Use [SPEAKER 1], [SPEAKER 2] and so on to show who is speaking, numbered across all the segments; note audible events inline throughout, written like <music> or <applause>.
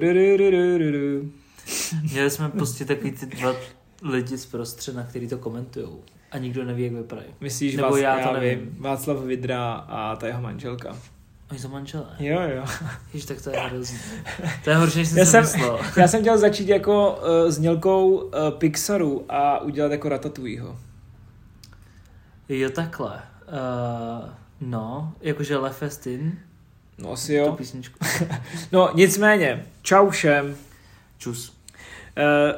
[SPEAKER 1] Turururururu.
[SPEAKER 2] Měli jsme prostě takový ty dva lidi z prostředna, který to komentujou. A nikdo neví, jak vypadají.
[SPEAKER 1] Myslíš,
[SPEAKER 2] Nebo
[SPEAKER 1] Nebo Václav,
[SPEAKER 2] já
[SPEAKER 1] já,
[SPEAKER 2] to nevím.
[SPEAKER 1] vím, Václav Vidra a ta jeho manželka.
[SPEAKER 2] Oni jsou manželé.
[SPEAKER 1] Jo, jo.
[SPEAKER 2] Ježiš, tak to je hrozný. To je horší, než jsem,
[SPEAKER 1] Já
[SPEAKER 2] jsem
[SPEAKER 1] jsem-
[SPEAKER 2] myslel.
[SPEAKER 1] Já jsem chtěl začít jako uh, znělkou uh, Pixaru a udělat jako Ratatouilleho.
[SPEAKER 2] Jo, takhle. Uh, no, jakože Le Festin,
[SPEAKER 1] No asi
[SPEAKER 2] tu
[SPEAKER 1] jo.
[SPEAKER 2] písničku.
[SPEAKER 1] No nicméně, čau všem. Uh,
[SPEAKER 2] Čus.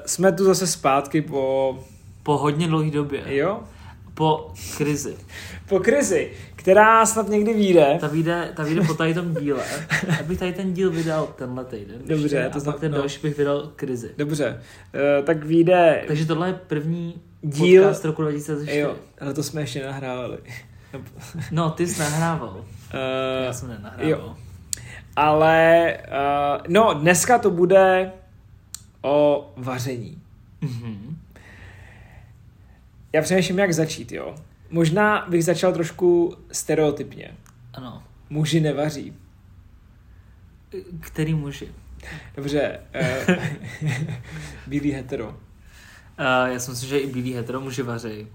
[SPEAKER 1] jsme tu zase zpátky po,
[SPEAKER 2] Po hodně dlouhé době.
[SPEAKER 1] jo?
[SPEAKER 2] Po krizi.
[SPEAKER 1] po krizi, která snad někdy vyjde.
[SPEAKER 2] Ta vyjde, ta vyjde po tady tom díle. Abych tady ten díl vydal tenhle týden.
[SPEAKER 1] Dobře,
[SPEAKER 2] ještě,
[SPEAKER 1] to
[SPEAKER 2] a pak
[SPEAKER 1] znamená-
[SPEAKER 2] ten
[SPEAKER 1] no.
[SPEAKER 2] další bych vydal krizi.
[SPEAKER 1] Dobře, uh, tak vyjde
[SPEAKER 2] Takže tohle je první
[SPEAKER 1] díl.
[SPEAKER 2] podcast roku 2004.
[SPEAKER 1] Jo, ale to jsme ještě nahrávali.
[SPEAKER 2] No, ty jsi nahrával.
[SPEAKER 1] Uh,
[SPEAKER 2] Já jsem nenahrával.
[SPEAKER 1] jo. Ale uh, no, dneska to bude o vaření.
[SPEAKER 2] Mhm.
[SPEAKER 1] Já přemýšlím, jak začít, jo. Možná bych začal trošku stereotypně.
[SPEAKER 2] Ano.
[SPEAKER 1] Muži nevaří.
[SPEAKER 2] Který muži?
[SPEAKER 1] Dobře, uh, <laughs> bílý hetero.
[SPEAKER 2] Uh, já si myslím, že i bílí hetero muži vaří.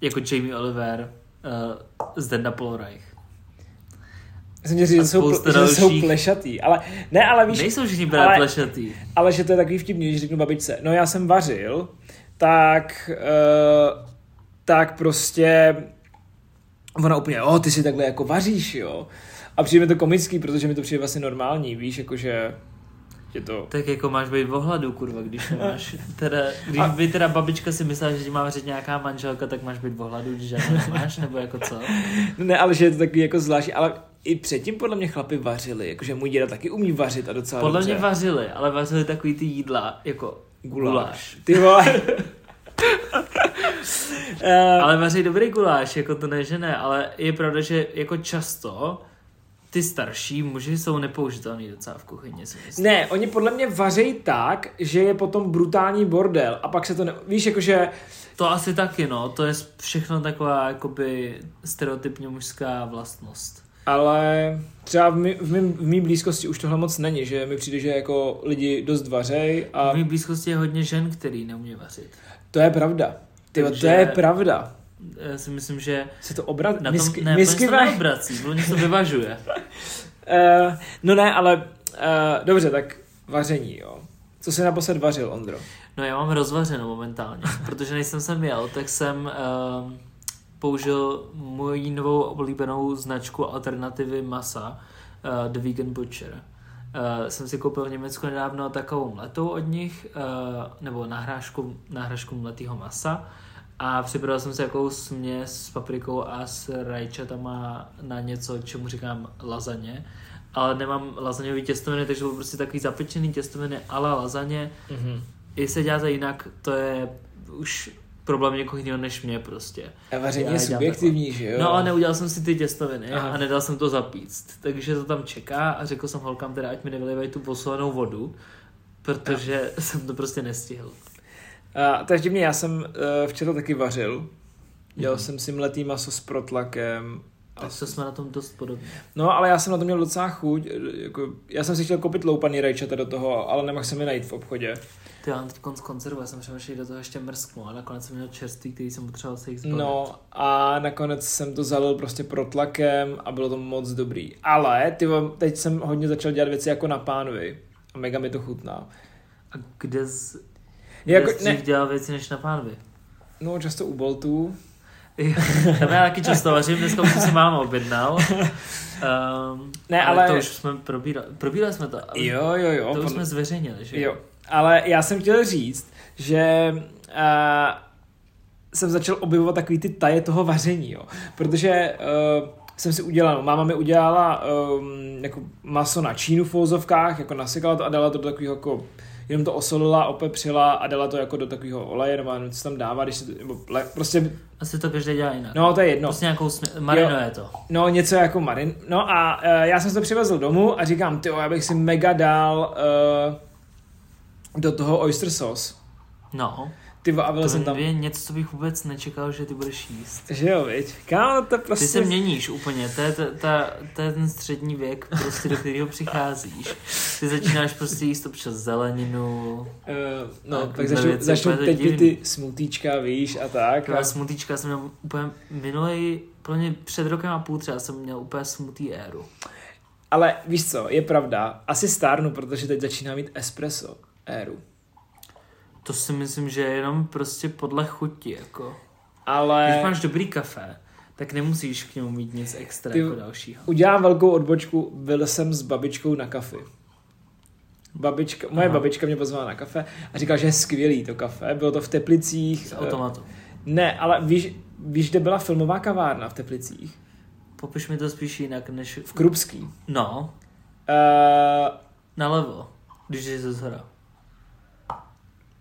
[SPEAKER 2] Jako Jamie Oliver, uh, Zdenda Polreich.
[SPEAKER 1] Jsem tě říct,
[SPEAKER 2] A
[SPEAKER 1] že jsou,
[SPEAKER 2] spousta
[SPEAKER 1] pl- že jsou
[SPEAKER 2] dalších.
[SPEAKER 1] plešatý, ale ne, ale víš,
[SPEAKER 2] Nejsou všichni
[SPEAKER 1] ale-
[SPEAKER 2] brát plešatý.
[SPEAKER 1] ale že to je takový vtipný, když řeknu babičce, no já jsem vařil, tak, uh, tak prostě ona úplně, o, ty si takhle jako vaříš, jo. A přijde mi to komický, protože mi to přijde vlastně normální, víš, jakože je to...
[SPEAKER 2] Tak jako máš být v ohladu, kurva, když <laughs> nemáš. Teda, když by teda babička si myslela, že ti má vařit nějaká manželka, tak máš být v ohladu, když žádnou nemáš, nebo jako <laughs> co?
[SPEAKER 1] Ne, ale že je to takový jako zvláštní, ale i předtím podle mě chlapi vařili, jakože můj děda taky umí vařit a docela
[SPEAKER 2] Podle
[SPEAKER 1] dobře.
[SPEAKER 2] mě vařili, ale vařili takový ty jídla, jako guláš. guláš.
[SPEAKER 1] Ty
[SPEAKER 2] <laughs>
[SPEAKER 1] vole. Eh,
[SPEAKER 2] Ale vaří dobrý guláš, jako to ne, že ne, ale je pravda, že jako často ty starší muži jsou nepoužitelný docela v kuchyni, si myslím.
[SPEAKER 1] Ne, oni podle mě vařejí tak, že je potom brutální bordel a pak se to ne... Víš, jakože...
[SPEAKER 2] To asi taky, no, to je všechno taková jakoby stereotypně mužská vlastnost.
[SPEAKER 1] Ale třeba v, mý, v, mým, v mý blízkosti už tohle moc není, že mi přijde, že jako lidi dost vařej a
[SPEAKER 2] V mé blízkosti je hodně žen, který neumí vařit.
[SPEAKER 1] to je pravda. Ty, vole,
[SPEAKER 2] Takže-
[SPEAKER 1] to je pravda.
[SPEAKER 2] Já si myslím, že
[SPEAKER 1] Se to obrat...
[SPEAKER 2] na tom
[SPEAKER 1] misky,
[SPEAKER 2] ne,
[SPEAKER 1] misky
[SPEAKER 2] misky
[SPEAKER 1] va...
[SPEAKER 2] ne, obrací, oni
[SPEAKER 1] <laughs>
[SPEAKER 2] se vyvažuje.
[SPEAKER 1] Eh, no ne, ale uh, dobře, tak vaření, jo. Co jsi naposled vařil, Ondro?
[SPEAKER 2] No já mám rozvařeno momentálně, protože než jsem sem jel, tak jsem uh, použil moji novou oblíbenou značku alternativy masa, uh, The Vegan Butcher. Uh, jsem si koupil v Německu nedávno takovou mletou od nich, uh, nebo nahrášku, nahrášku mletého masa. A připravil jsem si jakou směs s paprikou a s rajčatama na něco, čemu říkám lazaně. Ale nemám lazaňový těstoviny, takže byl prostě takový zapečený těstoviny ala lazaně.
[SPEAKER 1] Mm-hmm.
[SPEAKER 2] Jestli děláte jinak, to je už problém někoho jiného než mě prostě.
[SPEAKER 1] A vaření
[SPEAKER 2] Já
[SPEAKER 1] je
[SPEAKER 2] dělám
[SPEAKER 1] subjektivní, že jo?
[SPEAKER 2] No a neudělal jsem si ty těstoviny
[SPEAKER 1] Aha.
[SPEAKER 2] a nedal jsem to zapíct. Takže to tam čeká a řekl jsem holkám teda, ať mi nevylivají tu posolanou vodu, protože <laughs> jsem to prostě nestihl.
[SPEAKER 1] A, Eh, to je vtipně, já jsem uh, včera taky vařil. Dělal
[SPEAKER 2] Mhm.
[SPEAKER 1] jsem si mletý maso s protlakem. A,
[SPEAKER 2] Tak to jsme na tom dost podobně.
[SPEAKER 1] no, ale já jsem na to měl docela chuť. eh, Jako, já jsem si chtěl koupit loupaný rajčata do toho, ale nemohl jsem je najít v obchodě.
[SPEAKER 2] Ty já mám teď konc konzervu, já jsem přemýšlel, že do toho ještě mrsknu a nakonec jsem měl čerstvý, který jsem potřeboval se jich zbavit.
[SPEAKER 1] No a nakonec jsem to zalil prostě protlakem a bylo to moc dobrý. Ale ty, vole, teď jsem hodně začal dělat věci jako na pánvi. A mega mi to chutná.
[SPEAKER 2] A kde z... Kde
[SPEAKER 1] Jako,
[SPEAKER 2] jako, jsi
[SPEAKER 1] ne,
[SPEAKER 2] dřív dělal věci než na pánvi?
[SPEAKER 1] no často u Boltů.
[SPEAKER 2] Jo, Tam já taky často vařím, dneska už jsem si máma objednal. Um,
[SPEAKER 1] Ne, ale-
[SPEAKER 2] to už jsme probírali, probírali jsme to. ale
[SPEAKER 1] Jo, jo, jo.
[SPEAKER 2] To
[SPEAKER 1] podle-
[SPEAKER 2] už jsme zveřejnili, že
[SPEAKER 1] Jo, ale já jsem chtěl říct, že uh, jsem začal objevovat takový ty taje toho vaření, jo. Protože uh, jsem si udělal, máma mi udělala um, jako maso na čínu v fouzovkách, jako nasekala to a dala to do takového jako jenom to osolila, opepřila a dala to jako do takového oleje, nebo já nevím, co tam dává, když se to, nebo le, prostě,
[SPEAKER 2] Asi to každý dělá jinak.
[SPEAKER 1] no to je jedno.
[SPEAKER 2] Prostě nějakou smě... marinuje to.
[SPEAKER 1] No, něco jako Marin. No a uh, já jsem se to přivezl domů a říkám, ty, já bych si eh, mega dal uh, do toho oyster sauce.
[SPEAKER 2] No.
[SPEAKER 1] Ty vole, a byl
[SPEAKER 2] To
[SPEAKER 1] jsem tam.
[SPEAKER 2] je něco, co bych vůbec nečekal, že ty budeš jíst.
[SPEAKER 1] Že jo, viď? Kámo, to
[SPEAKER 2] Ty
[SPEAKER 1] prostě...
[SPEAKER 2] se měníš úplně, to je, ta, ta, to je ten střední věk, prostě do kterého přicházíš. Ty začínáš prostě jíst občas zeleninu,
[SPEAKER 1] Eh, no, tak, tak
[SPEAKER 2] Tak, to je
[SPEAKER 1] začnu,
[SPEAKER 2] věc,
[SPEAKER 1] začnu
[SPEAKER 2] úplně to
[SPEAKER 1] teď ty,
[SPEAKER 2] divný.
[SPEAKER 1] ty smutíčka, víš, a tak. A,
[SPEAKER 2] Taková smutíčka jsem měl úplně minulý, pro mě před rokem a půl třeba jsem měl úplně smutý éru.
[SPEAKER 1] ale víš co, je pravda, asi stárnu, protože teď začíná mít espresso éru.
[SPEAKER 2] To si myslím, že je jenom prostě podle chuti, jako. Když
[SPEAKER 1] Ale
[SPEAKER 2] máš dobrý kafe, tak nemusíš k němu mít nic extra
[SPEAKER 1] Ty-
[SPEAKER 2] jako dalšího.
[SPEAKER 1] udělám velkou odbočku, byl jsem s babičkou na kafi. Babička, moje
[SPEAKER 2] Aha.
[SPEAKER 1] Aha. babička mě pozvala na kafe a říkala, že je skvělý to kafe. Bylo to v Teplicích.
[SPEAKER 2] Z
[SPEAKER 1] eh,
[SPEAKER 2] automatu.
[SPEAKER 1] Ne, ale víš, víš, kde byla filmová kavárna v Teplicích?
[SPEAKER 2] Popiš mi to spíš jinak než...
[SPEAKER 1] V Krupský.
[SPEAKER 2] No,
[SPEAKER 1] Uh,
[SPEAKER 2] nalevo, když jsi ze zhora.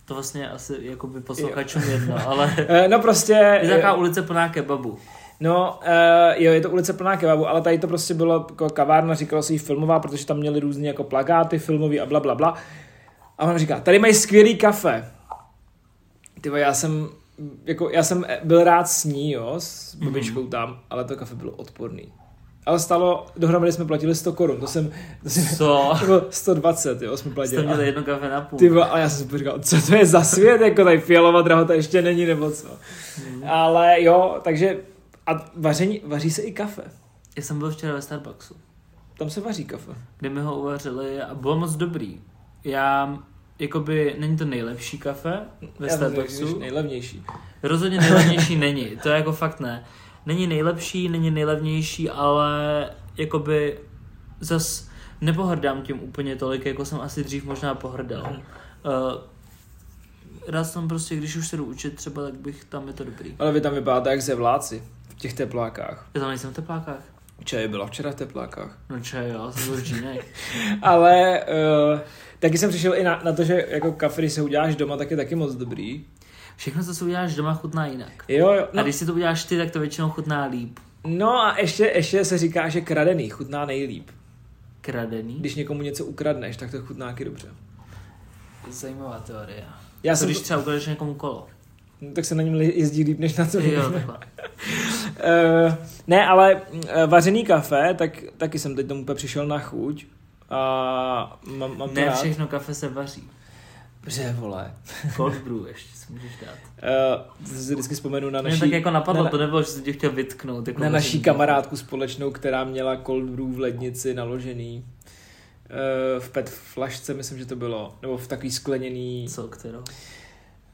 [SPEAKER 2] To vlastně asi jako by posluchačům jedno,
[SPEAKER 1] <laughs>
[SPEAKER 2] ale
[SPEAKER 1] no prostě...
[SPEAKER 2] je taková ulice plná kebabu.
[SPEAKER 1] No, uh, jo, je to ulice plná kebabu, ale tady to prostě bylo jako kavárna, říkalo se jí filmová, protože tam měli různé jako plakáty filmový a bla, bla, bla. A on říká, tady mají skvělý kafe. Ty vole, já jsem, jako, já jsem byl rád s ní, jo, s
[SPEAKER 2] Mhm.
[SPEAKER 1] babičkou mm. tam, ale to kafe bylo odporný. Ale stalo, dohromady jsme platili 100 korun, to jsem, to jsem
[SPEAKER 2] Co?
[SPEAKER 1] to bylo 120, jo, jsme
[SPEAKER 2] Jste
[SPEAKER 1] platili. A
[SPEAKER 2] měli jedno kafe na půl.
[SPEAKER 1] Ty vole, a já jsem si říkal, co to je za svět, jako tady fialová drahota ještě není, nebo co.
[SPEAKER 2] Mhm.
[SPEAKER 1] Ale jo, takže a vaření, vaří se i kafe.
[SPEAKER 2] Já jsem byl včera ve Starbucksu.
[SPEAKER 1] Tam se vaří kafe.
[SPEAKER 2] kde mi ho uvařili a bylo moc dobrý. Já, jakoby, není to nejlepší kafe ve
[SPEAKER 1] Já myslím, že
[SPEAKER 2] Starbucksu.
[SPEAKER 1] nejlevnější.
[SPEAKER 2] Rozhodně nejlevnější není, to je jako fakt ne. Není nejlepší, není nejlevnější, ale jakoby zas nepohrdám tím úplně tolik, jako jsem asi dřív možná pohrdal.
[SPEAKER 1] Mhm.
[SPEAKER 2] Uh, rád jsem prostě, když už se jdu učit třeba, tak bych tam je to dobrý.
[SPEAKER 1] Ale vy tam vypadáte jak zevláci v těch teplákách.
[SPEAKER 2] Já tam nejsem v teplákách.
[SPEAKER 1] Čeje byla včera v teplákách.
[SPEAKER 2] No če, jo, jsem byl v džínech.
[SPEAKER 1] Ale uh, taky jsem přišel i na, na to, že jako kafe, když se uděláš doma, tak je taky moc dobrý.
[SPEAKER 2] Všechno, co si uděláš doma, chutná jinak.
[SPEAKER 1] Jo, jo.
[SPEAKER 2] A
[SPEAKER 1] No,
[SPEAKER 2] když si to uděláš ty, tak to většinou chutná líp.
[SPEAKER 1] no a ještě, ještě se říká, že kradený chutná nejlíp.
[SPEAKER 2] Mhm. Kradený?
[SPEAKER 1] Když někomu něco ukradneš, tak to chutná taky dobře.
[SPEAKER 2] Zajímavá teorie.
[SPEAKER 1] Já
[SPEAKER 2] Já to,
[SPEAKER 1] jsem
[SPEAKER 2] když
[SPEAKER 1] to-
[SPEAKER 2] třeba ukradeš někomu kolo.
[SPEAKER 1] No, tak se na něm li- jezdí líp, než na co
[SPEAKER 2] Jo, takhle.
[SPEAKER 1] Eh, ne, ale eh, vařený kafe, tak taky jsem teď tomu úplně přišel na chuť. A mám, mám to
[SPEAKER 2] Ne
[SPEAKER 1] rád.
[SPEAKER 2] všechno kafe se vaří.
[SPEAKER 1] Bře, vole.
[SPEAKER 2] Cold brew ještě si můžeš dát.
[SPEAKER 1] Uh, si vždycky vzpomenu na
[SPEAKER 2] Mě
[SPEAKER 1] naší,
[SPEAKER 2] tak jako napadlo,
[SPEAKER 1] na,
[SPEAKER 2] to nebylo, že jsem tě chtěl vytknout. Jako
[SPEAKER 1] na
[SPEAKER 2] musím
[SPEAKER 1] naší
[SPEAKER 2] dát.
[SPEAKER 1] kamarádku společnou, která měla cold brew v lednici naložený. Eh, v pet flašce, myslím, že to bylo. Nebo v takový skleněný.
[SPEAKER 2] Co, kterou?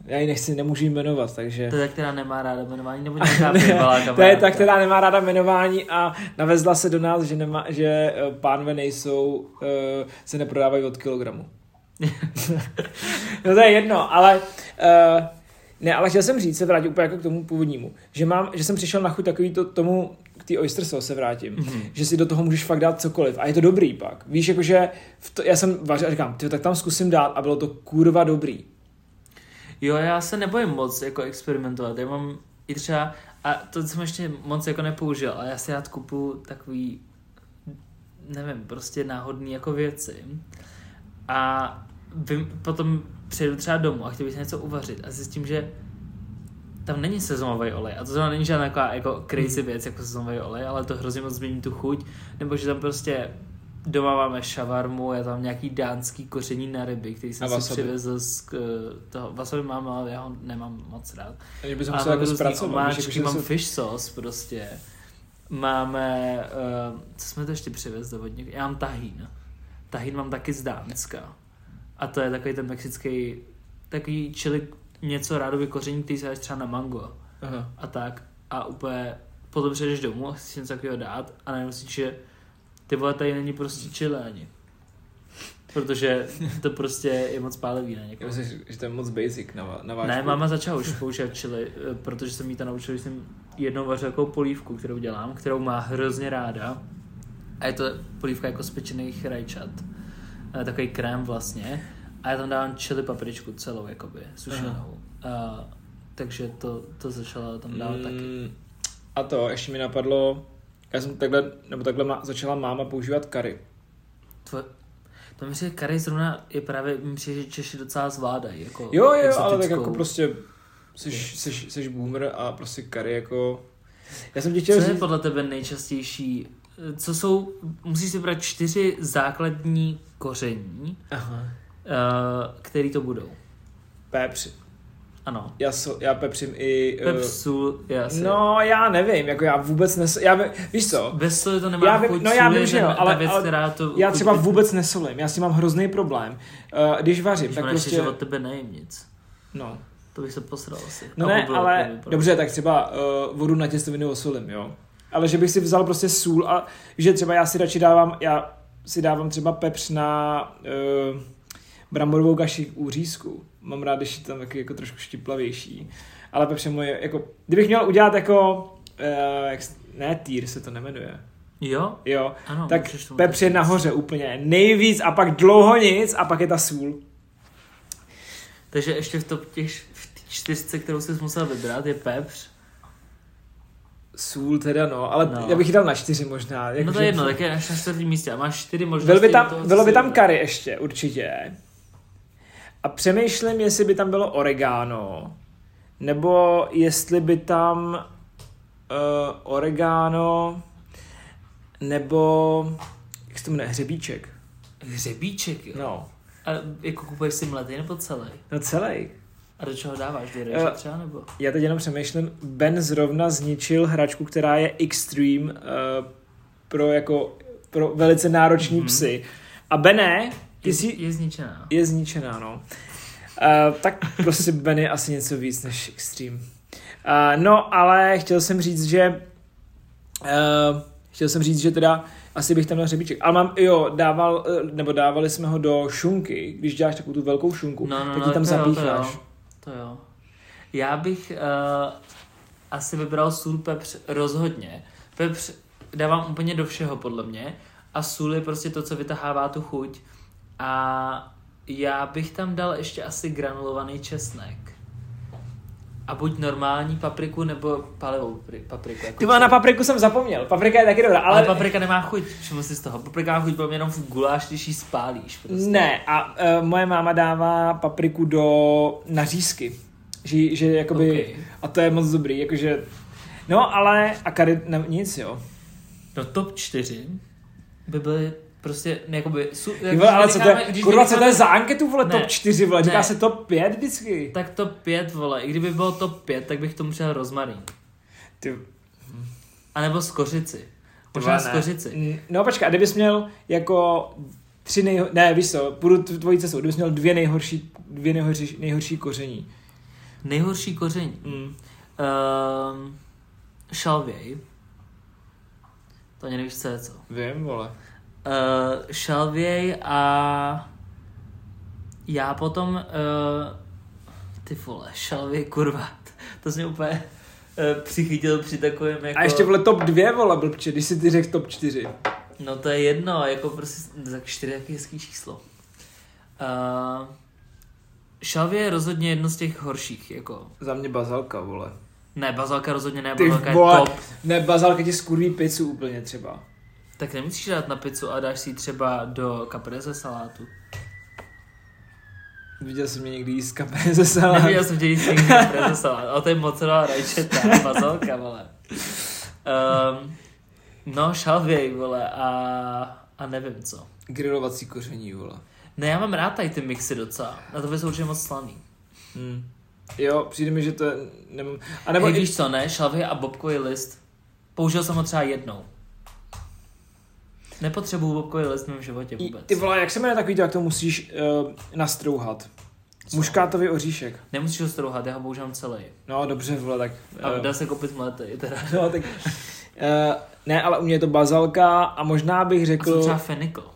[SPEAKER 1] Já ji nechci, nemůžu jí jmenovat, takže...
[SPEAKER 2] To je ta, která nemá ráda jmenování, nebo
[SPEAKER 1] <laughs>
[SPEAKER 2] nějaká
[SPEAKER 1] Ne,
[SPEAKER 2] bývalá kamarádka.
[SPEAKER 1] To je ta, která nemá ráda jmenování a navezla se do nás, že, nemá, že eh, pánve nejsou, eh, se neprodávají od
[SPEAKER 2] <laughs>
[SPEAKER 1] kilogramu. no to je jedno, ale... eh, ne, ale chtěl jsem říct, se vrátit úplně jako k tomu původnímu, že, mám, že jsem přišel na chuť takový to, tomu, k té oyster sauce se vrátím,
[SPEAKER 2] Mhm.
[SPEAKER 1] mm-hmm. že si do toho můžeš fakt dát cokoliv a je to dobrý pak. Víš, jakože v to, já jsem vařil a říkám, "Tyjo, tak tam zkusím dát a bylo to kurva dobrý.
[SPEAKER 2] Jo, já se nebojím moc jako experimentovat. Já mám i třeba, a to jsem ještě moc jako nepoužil, ale já si rád kupu takový, nevím, prostě náhodný jako věci. A vím, potom přijedu třeba domů a chtěl bych si něco uvařit a zjistím, že tam není sezonový olej. A to zrovna není žádná taková jako
[SPEAKER 1] Hmm.
[SPEAKER 2] crazy věc jako sezonový olej, ale to hrozně moc změní tu chuť. Nebo že tam prostě doma máme šavarmu, je tam nějaký dánský koření na ryby, který
[SPEAKER 1] A
[SPEAKER 2] jsem si
[SPEAKER 1] wasabi.
[SPEAKER 2] přivezl z k, toho. Wasabi mám, ale já ho nemám moc rád.
[SPEAKER 1] Takže bych
[SPEAKER 2] A
[SPEAKER 1] musel
[SPEAKER 2] mám
[SPEAKER 1] jako
[SPEAKER 2] různý
[SPEAKER 1] zpracovat. víš,
[SPEAKER 2] Omáčky,
[SPEAKER 1] jakože
[SPEAKER 2] mám
[SPEAKER 1] se-
[SPEAKER 2] fish sauce prostě. Máme, uh, co jsme to ještě přivezli od něk- Já mám tahín. Tahín mám taky z Dánska. A to je takový ten mexický, takový čili něco rádoby koření, který se dáš třeba na mango
[SPEAKER 1] Aha.
[SPEAKER 2] a tak. A úplně potom přijdeš domů a chceš něco takového dát a najednou si že ty vole tady není prostě chili ani. Protože to prostě je moc pálivý na
[SPEAKER 1] Já
[SPEAKER 2] někoho.
[SPEAKER 1] myslím, že to je moc basic na, va- na váš
[SPEAKER 2] Ne,
[SPEAKER 1] vkus.
[SPEAKER 2] máma začala už používat čili, eh, protože jsem jí to naučil, že jsem jednou vařil jako polívku, kterou dělám, kterou má hrozně ráda. A je to polívka jako z pečených rajčat. Eh, Takový krém vlastně. A já tam dávám čili papričku celou, jakoby, sušenou. A, takže to, to začala tam dávat mm. taky.
[SPEAKER 1] Mm, A to, ještě mi napadlo, já jsem takhle, nebo takhle má, začala máma používat kary.
[SPEAKER 2] Tvoje... To mi přijde, Kary zrovna je právě, mi přijde, že Češi docela zvládají. Jako
[SPEAKER 1] Jo, jo,
[SPEAKER 2] exotickou.
[SPEAKER 1] ale tak jako prostě Seš, seš, seš boomer a prostě kary jako... Já jsem ti
[SPEAKER 2] Co
[SPEAKER 1] chtěl
[SPEAKER 2] je
[SPEAKER 1] říct...
[SPEAKER 2] podle tebe nejčastější? Co jsou, musíš si vybrat čtyři základní koření,
[SPEAKER 1] Aha.
[SPEAKER 2] eh, který to budou.
[SPEAKER 1] Pepř.
[SPEAKER 2] Ano.
[SPEAKER 1] Já, so, já pepřím i... eh,
[SPEAKER 2] Pep, sůl, jasně.
[SPEAKER 1] No, já nevím, jako já vůbec nes... Já, ve- víš co,
[SPEAKER 2] Bez soli to nemá
[SPEAKER 1] Já vím-
[SPEAKER 2] chuť,
[SPEAKER 1] no já
[SPEAKER 2] sůl je
[SPEAKER 1] vím, že
[SPEAKER 2] ten-
[SPEAKER 1] jo,
[SPEAKER 2] ta
[SPEAKER 1] ale-
[SPEAKER 2] věc,
[SPEAKER 1] ale
[SPEAKER 2] která to
[SPEAKER 1] já třeba
[SPEAKER 2] chuť-
[SPEAKER 1] vůbec nesolím, já s tím mám hrozný problém. Eh, Když vařím,
[SPEAKER 2] Když
[SPEAKER 1] tak
[SPEAKER 2] máš,
[SPEAKER 1] prostě...
[SPEAKER 2] že od tebe nejím nic.
[SPEAKER 1] No,
[SPEAKER 2] To bych se posral asi.
[SPEAKER 1] no
[SPEAKER 2] A
[SPEAKER 1] ne,
[SPEAKER 2] obil to
[SPEAKER 1] ale
[SPEAKER 2] vypadá.
[SPEAKER 1] dobře, tak třeba uh, vodu na těstoviny osolím, jo. Ale že bych si vzal prostě sůl a že třeba já si radši dávám, já si dávám třeba pepř na uh, bramborovou kaši k úřízku. Mám rád, když je tam taky jako trošku štiplavější. Ale pepř je moje, jako, kdybych měl udělat jako, uh, jak, s- ne, týr se to nemenuje.
[SPEAKER 2] Jo?
[SPEAKER 1] Jo,
[SPEAKER 2] Ano,
[SPEAKER 1] tak
[SPEAKER 2] No, můžeš tomu
[SPEAKER 1] pepř je
[SPEAKER 2] říct.
[SPEAKER 1] nahoře úplně nejvíc a pak dlouho nic a pak je ta sůl.
[SPEAKER 2] Takže ještě v top těch v té čtyřce, kterou jsi musel vybrat, je pepř.
[SPEAKER 1] Sůl teda no, ale
[SPEAKER 2] No.
[SPEAKER 1] já bych ji dal na čtyři možná.
[SPEAKER 2] no
[SPEAKER 1] jakože-
[SPEAKER 2] to je jedno, tak je až na čtvrtém místě a máš čtyři možnosti.
[SPEAKER 1] Bylo by
[SPEAKER 2] do toho,
[SPEAKER 1] tam,
[SPEAKER 2] co
[SPEAKER 1] bylo
[SPEAKER 2] si
[SPEAKER 1] by tam
[SPEAKER 2] vybrat.
[SPEAKER 1] kary ještě, určitě. A přemýšlím, jestli by tam bylo oregano, nebo jestli by tam uh, oregano, nebo jak se to jmenuje, hřebíček.
[SPEAKER 2] Hřebíček, jo.
[SPEAKER 1] No,
[SPEAKER 2] A jako kupuješ si mletý nebo celý?
[SPEAKER 1] no celý.
[SPEAKER 2] A do čeho dáváš? Do rejže
[SPEAKER 1] Eh.
[SPEAKER 2] třeba nebo?
[SPEAKER 1] Já teď jenom přemýšlím, Ben zrovna zničil hračku, která je extreme uh, pro jako pro velice nároční mm-hmm. psy. A Bené, ty
[SPEAKER 2] Je,
[SPEAKER 1] jsi,
[SPEAKER 2] je zničená.
[SPEAKER 1] je zničená, no. Uh, tak prostě Ben je asi něco víc než extreme. Uh, no, ale chtěl jsem říct, že uh, chtěl jsem říct, že teda asi bych tam dal hřebíček. Ale mám, jo, dával, eh, nebo dávali jsme ho do šunky, když děláš takovou tu velkou šunku,
[SPEAKER 2] No, no,
[SPEAKER 1] tak
[SPEAKER 2] no,
[SPEAKER 1] ji tam
[SPEAKER 2] to jo,
[SPEAKER 1] zapícháš.
[SPEAKER 2] To jo, to jo. Já bych uh, asi vybral sůl pepř rozhodně. Pepř dávám úplně do všeho, podle mě. A sůl je prostě to, co vytahává tu chuť. A já bych tam dal ještě asi granulovaný česnek. A buď normální papriku, nebo palivou pri- papriku. Jako
[SPEAKER 1] Ty vole, na papriku jsem zapomněl. Paprika je taky dobrá,
[SPEAKER 2] ale...
[SPEAKER 1] ale...
[SPEAKER 2] ale paprika nemá chuť, všiml si z toho. Paprika má chuť podle mě jenom v guláš, když ji spálíš. Prostě.
[SPEAKER 1] Ne, a uh, moje máma dává papriku do nařízky. Že, že jakoby...
[SPEAKER 2] Ok.
[SPEAKER 1] A to je moc dobrý, jakože... No, ale... A kary... Ne, nic, jo.
[SPEAKER 2] No top 4 by byly prostě jakoby... Su,
[SPEAKER 1] Ty vole, ale co to
[SPEAKER 2] necháme-
[SPEAKER 1] je? Kurva, co to je za anketu, vole,
[SPEAKER 2] Ne.
[SPEAKER 1] top 4, vole? Říká
[SPEAKER 2] Ne.
[SPEAKER 1] se top 5 vždycky.
[SPEAKER 2] Tak top 5, vole, i kdyby bylo top 5, tak bych tomu přidal rozmarín.
[SPEAKER 1] Ty,
[SPEAKER 2] A nebo skořici.
[SPEAKER 1] ty
[SPEAKER 2] Možná
[SPEAKER 1] vole, ne.
[SPEAKER 2] skořici.
[SPEAKER 1] Mm, No, počkej, a kdybys měl jako tři nejho... Ne, víš co, půjdu t- tvojí cestou. Kdybys měl dvě nejhorší, dvě nejhorší, nejhorší koření.
[SPEAKER 2] Nejhorší koření.
[SPEAKER 1] Mm.
[SPEAKER 2] Um, šalvěj. To ani nevíš, co je co.
[SPEAKER 1] Vím, vole.
[SPEAKER 2] Uh, šalvěj a já potom uh, ty vole, šalvěj kurva, to jsi mě úplně uh, přichytil při takovém jako...
[SPEAKER 1] A ještě vole top 2, vole, blbče, když si ty řekl top 4.
[SPEAKER 2] No to je jedno, jako prostě tak čtyři taky hezký číslo. Uh, šalvěj je rozhodně jedno z těch horších, jako.
[SPEAKER 1] Za mě bazalka, vole.
[SPEAKER 2] Ne, bazalka rozhodně ne,
[SPEAKER 1] Ty
[SPEAKER 2] bazalka
[SPEAKER 1] vole.
[SPEAKER 2] je top.
[SPEAKER 1] Ne, bazalka ti skurví pizzu úplně třeba.
[SPEAKER 2] Tak nemusíš dát na pizzu a dáš si ji třeba do kaprese salátu.
[SPEAKER 1] Viděl jsem mě někdy jíst kapé ze salát.
[SPEAKER 2] <laughs> Neviděl jsem tě nic jiného prezesovat, ale to je mozzarella rajčeta, bazalka, vole. Um, no, šalvěj, vole, a, a nevím co.
[SPEAKER 1] Grilovací koření, vole.
[SPEAKER 2] Ne, já mám rád tady ty mixy docela, na to jsou určitě moc slaný.
[SPEAKER 1] Hmm. Jo, přijde mi, že to je- nemám... A nebo
[SPEAKER 2] Nebo Hej,
[SPEAKER 1] i
[SPEAKER 2] Hm. víš co, ne, šalvěj a bobkový list. Použil jsem ho třeba jednou. Nepotřebuju bobkový list v mém životě
[SPEAKER 1] i-
[SPEAKER 2] vůbec.
[SPEAKER 1] Ty vole, jak se jmenuje takový to, jak to musíš uh, nastrouhat?
[SPEAKER 2] Co?
[SPEAKER 1] Muškátový oříšek.
[SPEAKER 2] Nemusíš ho strouhat, já ho používám celý.
[SPEAKER 1] No, dobře, vole, tak...
[SPEAKER 2] A
[SPEAKER 1] eh,
[SPEAKER 2] dá se koupit mletej, teda.
[SPEAKER 1] <laughs> no, tak... eh, ne, ale u mě je to bazalka a možná bych
[SPEAKER 2] A co
[SPEAKER 1] řekl,
[SPEAKER 2] třeba fenikl?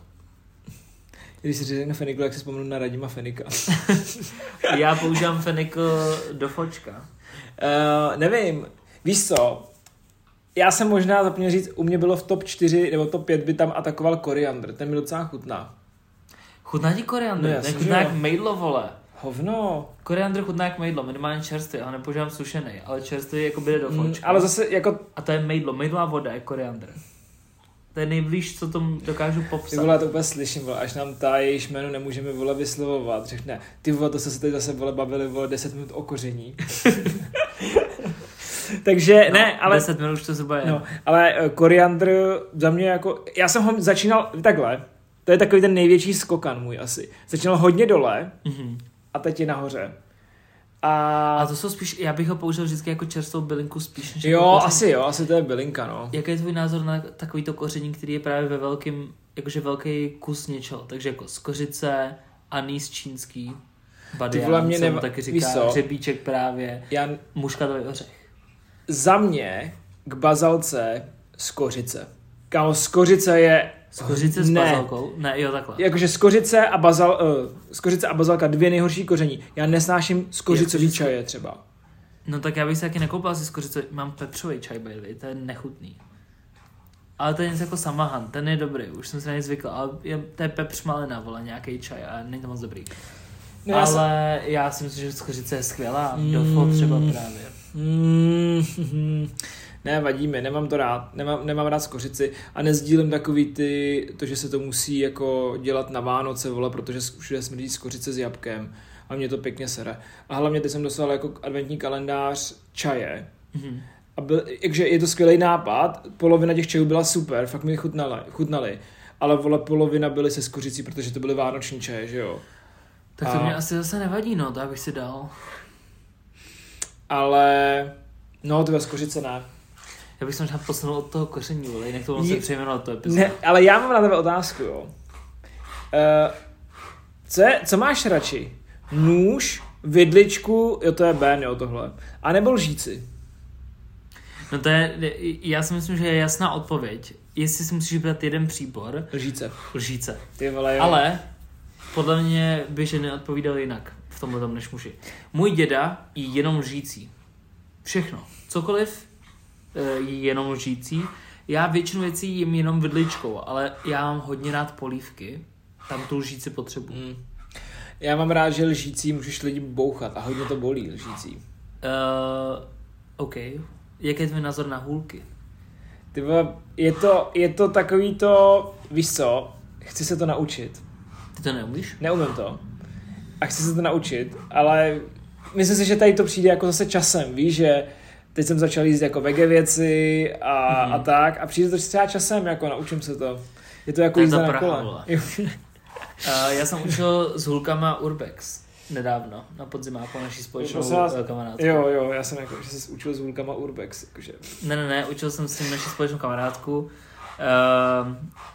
[SPEAKER 1] když si řekne Fenikl, jak si vzpomenu na Radima Fenika.
[SPEAKER 2] Já používám fenikl do fočka.
[SPEAKER 1] Uh, nevím, víš co, já jsem možná zapomněl říct, u mě bylo v top 4 nebo top 5 by tam atakoval koriandr, ten mi docela chutná.
[SPEAKER 2] Chutná ti koriandr,
[SPEAKER 1] No
[SPEAKER 2] no,
[SPEAKER 1] jasně,
[SPEAKER 2] chutná
[SPEAKER 1] že
[SPEAKER 2] jak
[SPEAKER 1] jo.
[SPEAKER 2] mejdlo, vole.
[SPEAKER 1] Hovno,
[SPEAKER 2] Koriandr chutná jak mejdlo, minimálně čerstvý, já ho nepoužívám sušený, ale čerstvý jako bude do
[SPEAKER 1] mm,
[SPEAKER 2] fočka.
[SPEAKER 1] ale zase jako,
[SPEAKER 2] A to je mejdlo, mejdlo a voda je koriandr. To je nejblíž, co tomu dokážu popsat.
[SPEAKER 1] Ty vole, já to úplně slyším, vole, až nám ta jejíž jméno nemůžeme vole vyslovovat. Řekne, ty vole, to jsme se teď zase vole bavili vole 10 minut o
[SPEAKER 2] <laughs>
[SPEAKER 1] koření. Takže
[SPEAKER 2] No,
[SPEAKER 1] ne, ale
[SPEAKER 2] 10 minut už to zhruba je.
[SPEAKER 1] No, ale eh, koriandr za mě jako, já jsem ho začínal takhle, to je takový ten největší skokan můj asi. Začínal hodně dole
[SPEAKER 2] Mhm.
[SPEAKER 1] a teď je nahoře. A,
[SPEAKER 2] A to jsou spíš, já bych ho použil vždycky jako čerstvou bylinku spíš než jako
[SPEAKER 1] jo,
[SPEAKER 2] koření.
[SPEAKER 1] asi jo, asi to je bylinka, no.
[SPEAKER 2] Jaký je tvůj názor na takovýto koření, který je právě ve velkým, jakože velký kus něčeho, takže jako z kořice, anýs čínský,
[SPEAKER 1] Ty
[SPEAKER 2] badián,
[SPEAKER 1] vole, mě
[SPEAKER 2] se mu
[SPEAKER 1] neva-
[SPEAKER 2] taky
[SPEAKER 1] víš
[SPEAKER 2] říká,
[SPEAKER 1] co?
[SPEAKER 2] řebíček právě,
[SPEAKER 1] Já
[SPEAKER 2] muškatový ořech.
[SPEAKER 1] za mě k bazalce z kořice. Kámo, z kořice je...
[SPEAKER 2] Z kořice s
[SPEAKER 1] ne.
[SPEAKER 2] bazalkou? Ne, jo, takhle.
[SPEAKER 1] Jakože z kořice a, bazal, uh, z kořice a bazalka dvě nejhorší koření. Já nesnáším z kořicový
[SPEAKER 2] Jak to, že-
[SPEAKER 1] čaje třeba.
[SPEAKER 2] No tak já bych se taky nekoupil asi z kořice, mám pepřový čaj, baby, to je nechutný. Ale to je něco jako samahan, ten je dobrý, už jsem se na něj zvykl, ale je, to je pepř malina, vole, nějaký čaj a není to moc dobrý.
[SPEAKER 1] No, já
[SPEAKER 2] ale
[SPEAKER 1] jsem-
[SPEAKER 2] já si myslím, že z kořice je skvělá, mm. dofo třeba právě.
[SPEAKER 1] Mm, ne, vadí mi, nemám to rád, nemám, nemám rád skořici a nezdílím takový ty, to, že se to musí jako dělat na Vánoce, vole, protože všude smrdí skořice s jabkem a mě to pěkně sere. A hlavně teď jsem dostal jako adventní kalendář čaje,
[SPEAKER 2] Mhm.
[SPEAKER 1] a byl, jakže je to skvělý nápad, polovina těch čajů byla super, fakt mi je chutnali, chutnali. Ale vole, polovina byly se skořicí, protože to byly vánoční čaje, že jo.
[SPEAKER 2] Tak to
[SPEAKER 1] A-
[SPEAKER 2] mě asi zase nevadí, no, to já bych si dal.
[SPEAKER 1] Ale, no, to byla skořice ne.
[SPEAKER 2] Já bych se možná posunul od toho koření, ale jinak to bylo se
[SPEAKER 1] Je-
[SPEAKER 2] přejmenovat to epizodu.
[SPEAKER 1] Ne, ale já mám na tebe otázku, jo. Uh, co, je, co máš radši? Nůž, vidličku, jo to je Ben, jo tohle. A nebo lžíci.
[SPEAKER 2] No to je, já si myslím, že je jasná odpověď. Jestli si musíš vybrat jeden příbor,
[SPEAKER 1] Lžíce.
[SPEAKER 2] lžíce.
[SPEAKER 1] Ty vole, jo.
[SPEAKER 2] Ale podle mě by ženy odpovídaly jinak v tomhle tom než muži. Můj děda je jenom lžící. Všechno. Cokoliv eh, je jenom lžící. Já většinu věcí jim jenom vidličkou, ale já mám hodně rád polívky. Tam tu lžíci potřebuji.
[SPEAKER 1] Mm. Já mám rád, že lžící můžeš lidi bouchat a hodně to bolí lžící.
[SPEAKER 2] Uh, OK. Jaký je tvůj názor na hůlky?
[SPEAKER 1] Ty vole, je to, je to takový to, víš co, chci se to naučit.
[SPEAKER 2] Ty to neumíš?
[SPEAKER 1] Neumím to. A chci se to naučit, ale myslím si, že tady to přijde jako zase časem, víš, že teď jsem začal jíst jako vege věci a,
[SPEAKER 2] Mhm.
[SPEAKER 1] mm-hmm. a tak a přijde to třeba časem, jako naučím se to. Je to jako
[SPEAKER 2] To je ta
[SPEAKER 1] jízda na
[SPEAKER 2] Praha,
[SPEAKER 1] kole.
[SPEAKER 2] vole. Uh, já jsem učil s hůlkama Urbex nedávno, na podzimáku naší společnou
[SPEAKER 1] Prosím vás.
[SPEAKER 2] eh, kamarádku.
[SPEAKER 1] jo, jo, já jsem jako, že se učil s hůlkama Urbex, jakože.
[SPEAKER 2] Ne, ne, ne, učil jsem s tím naši společnou kamarádku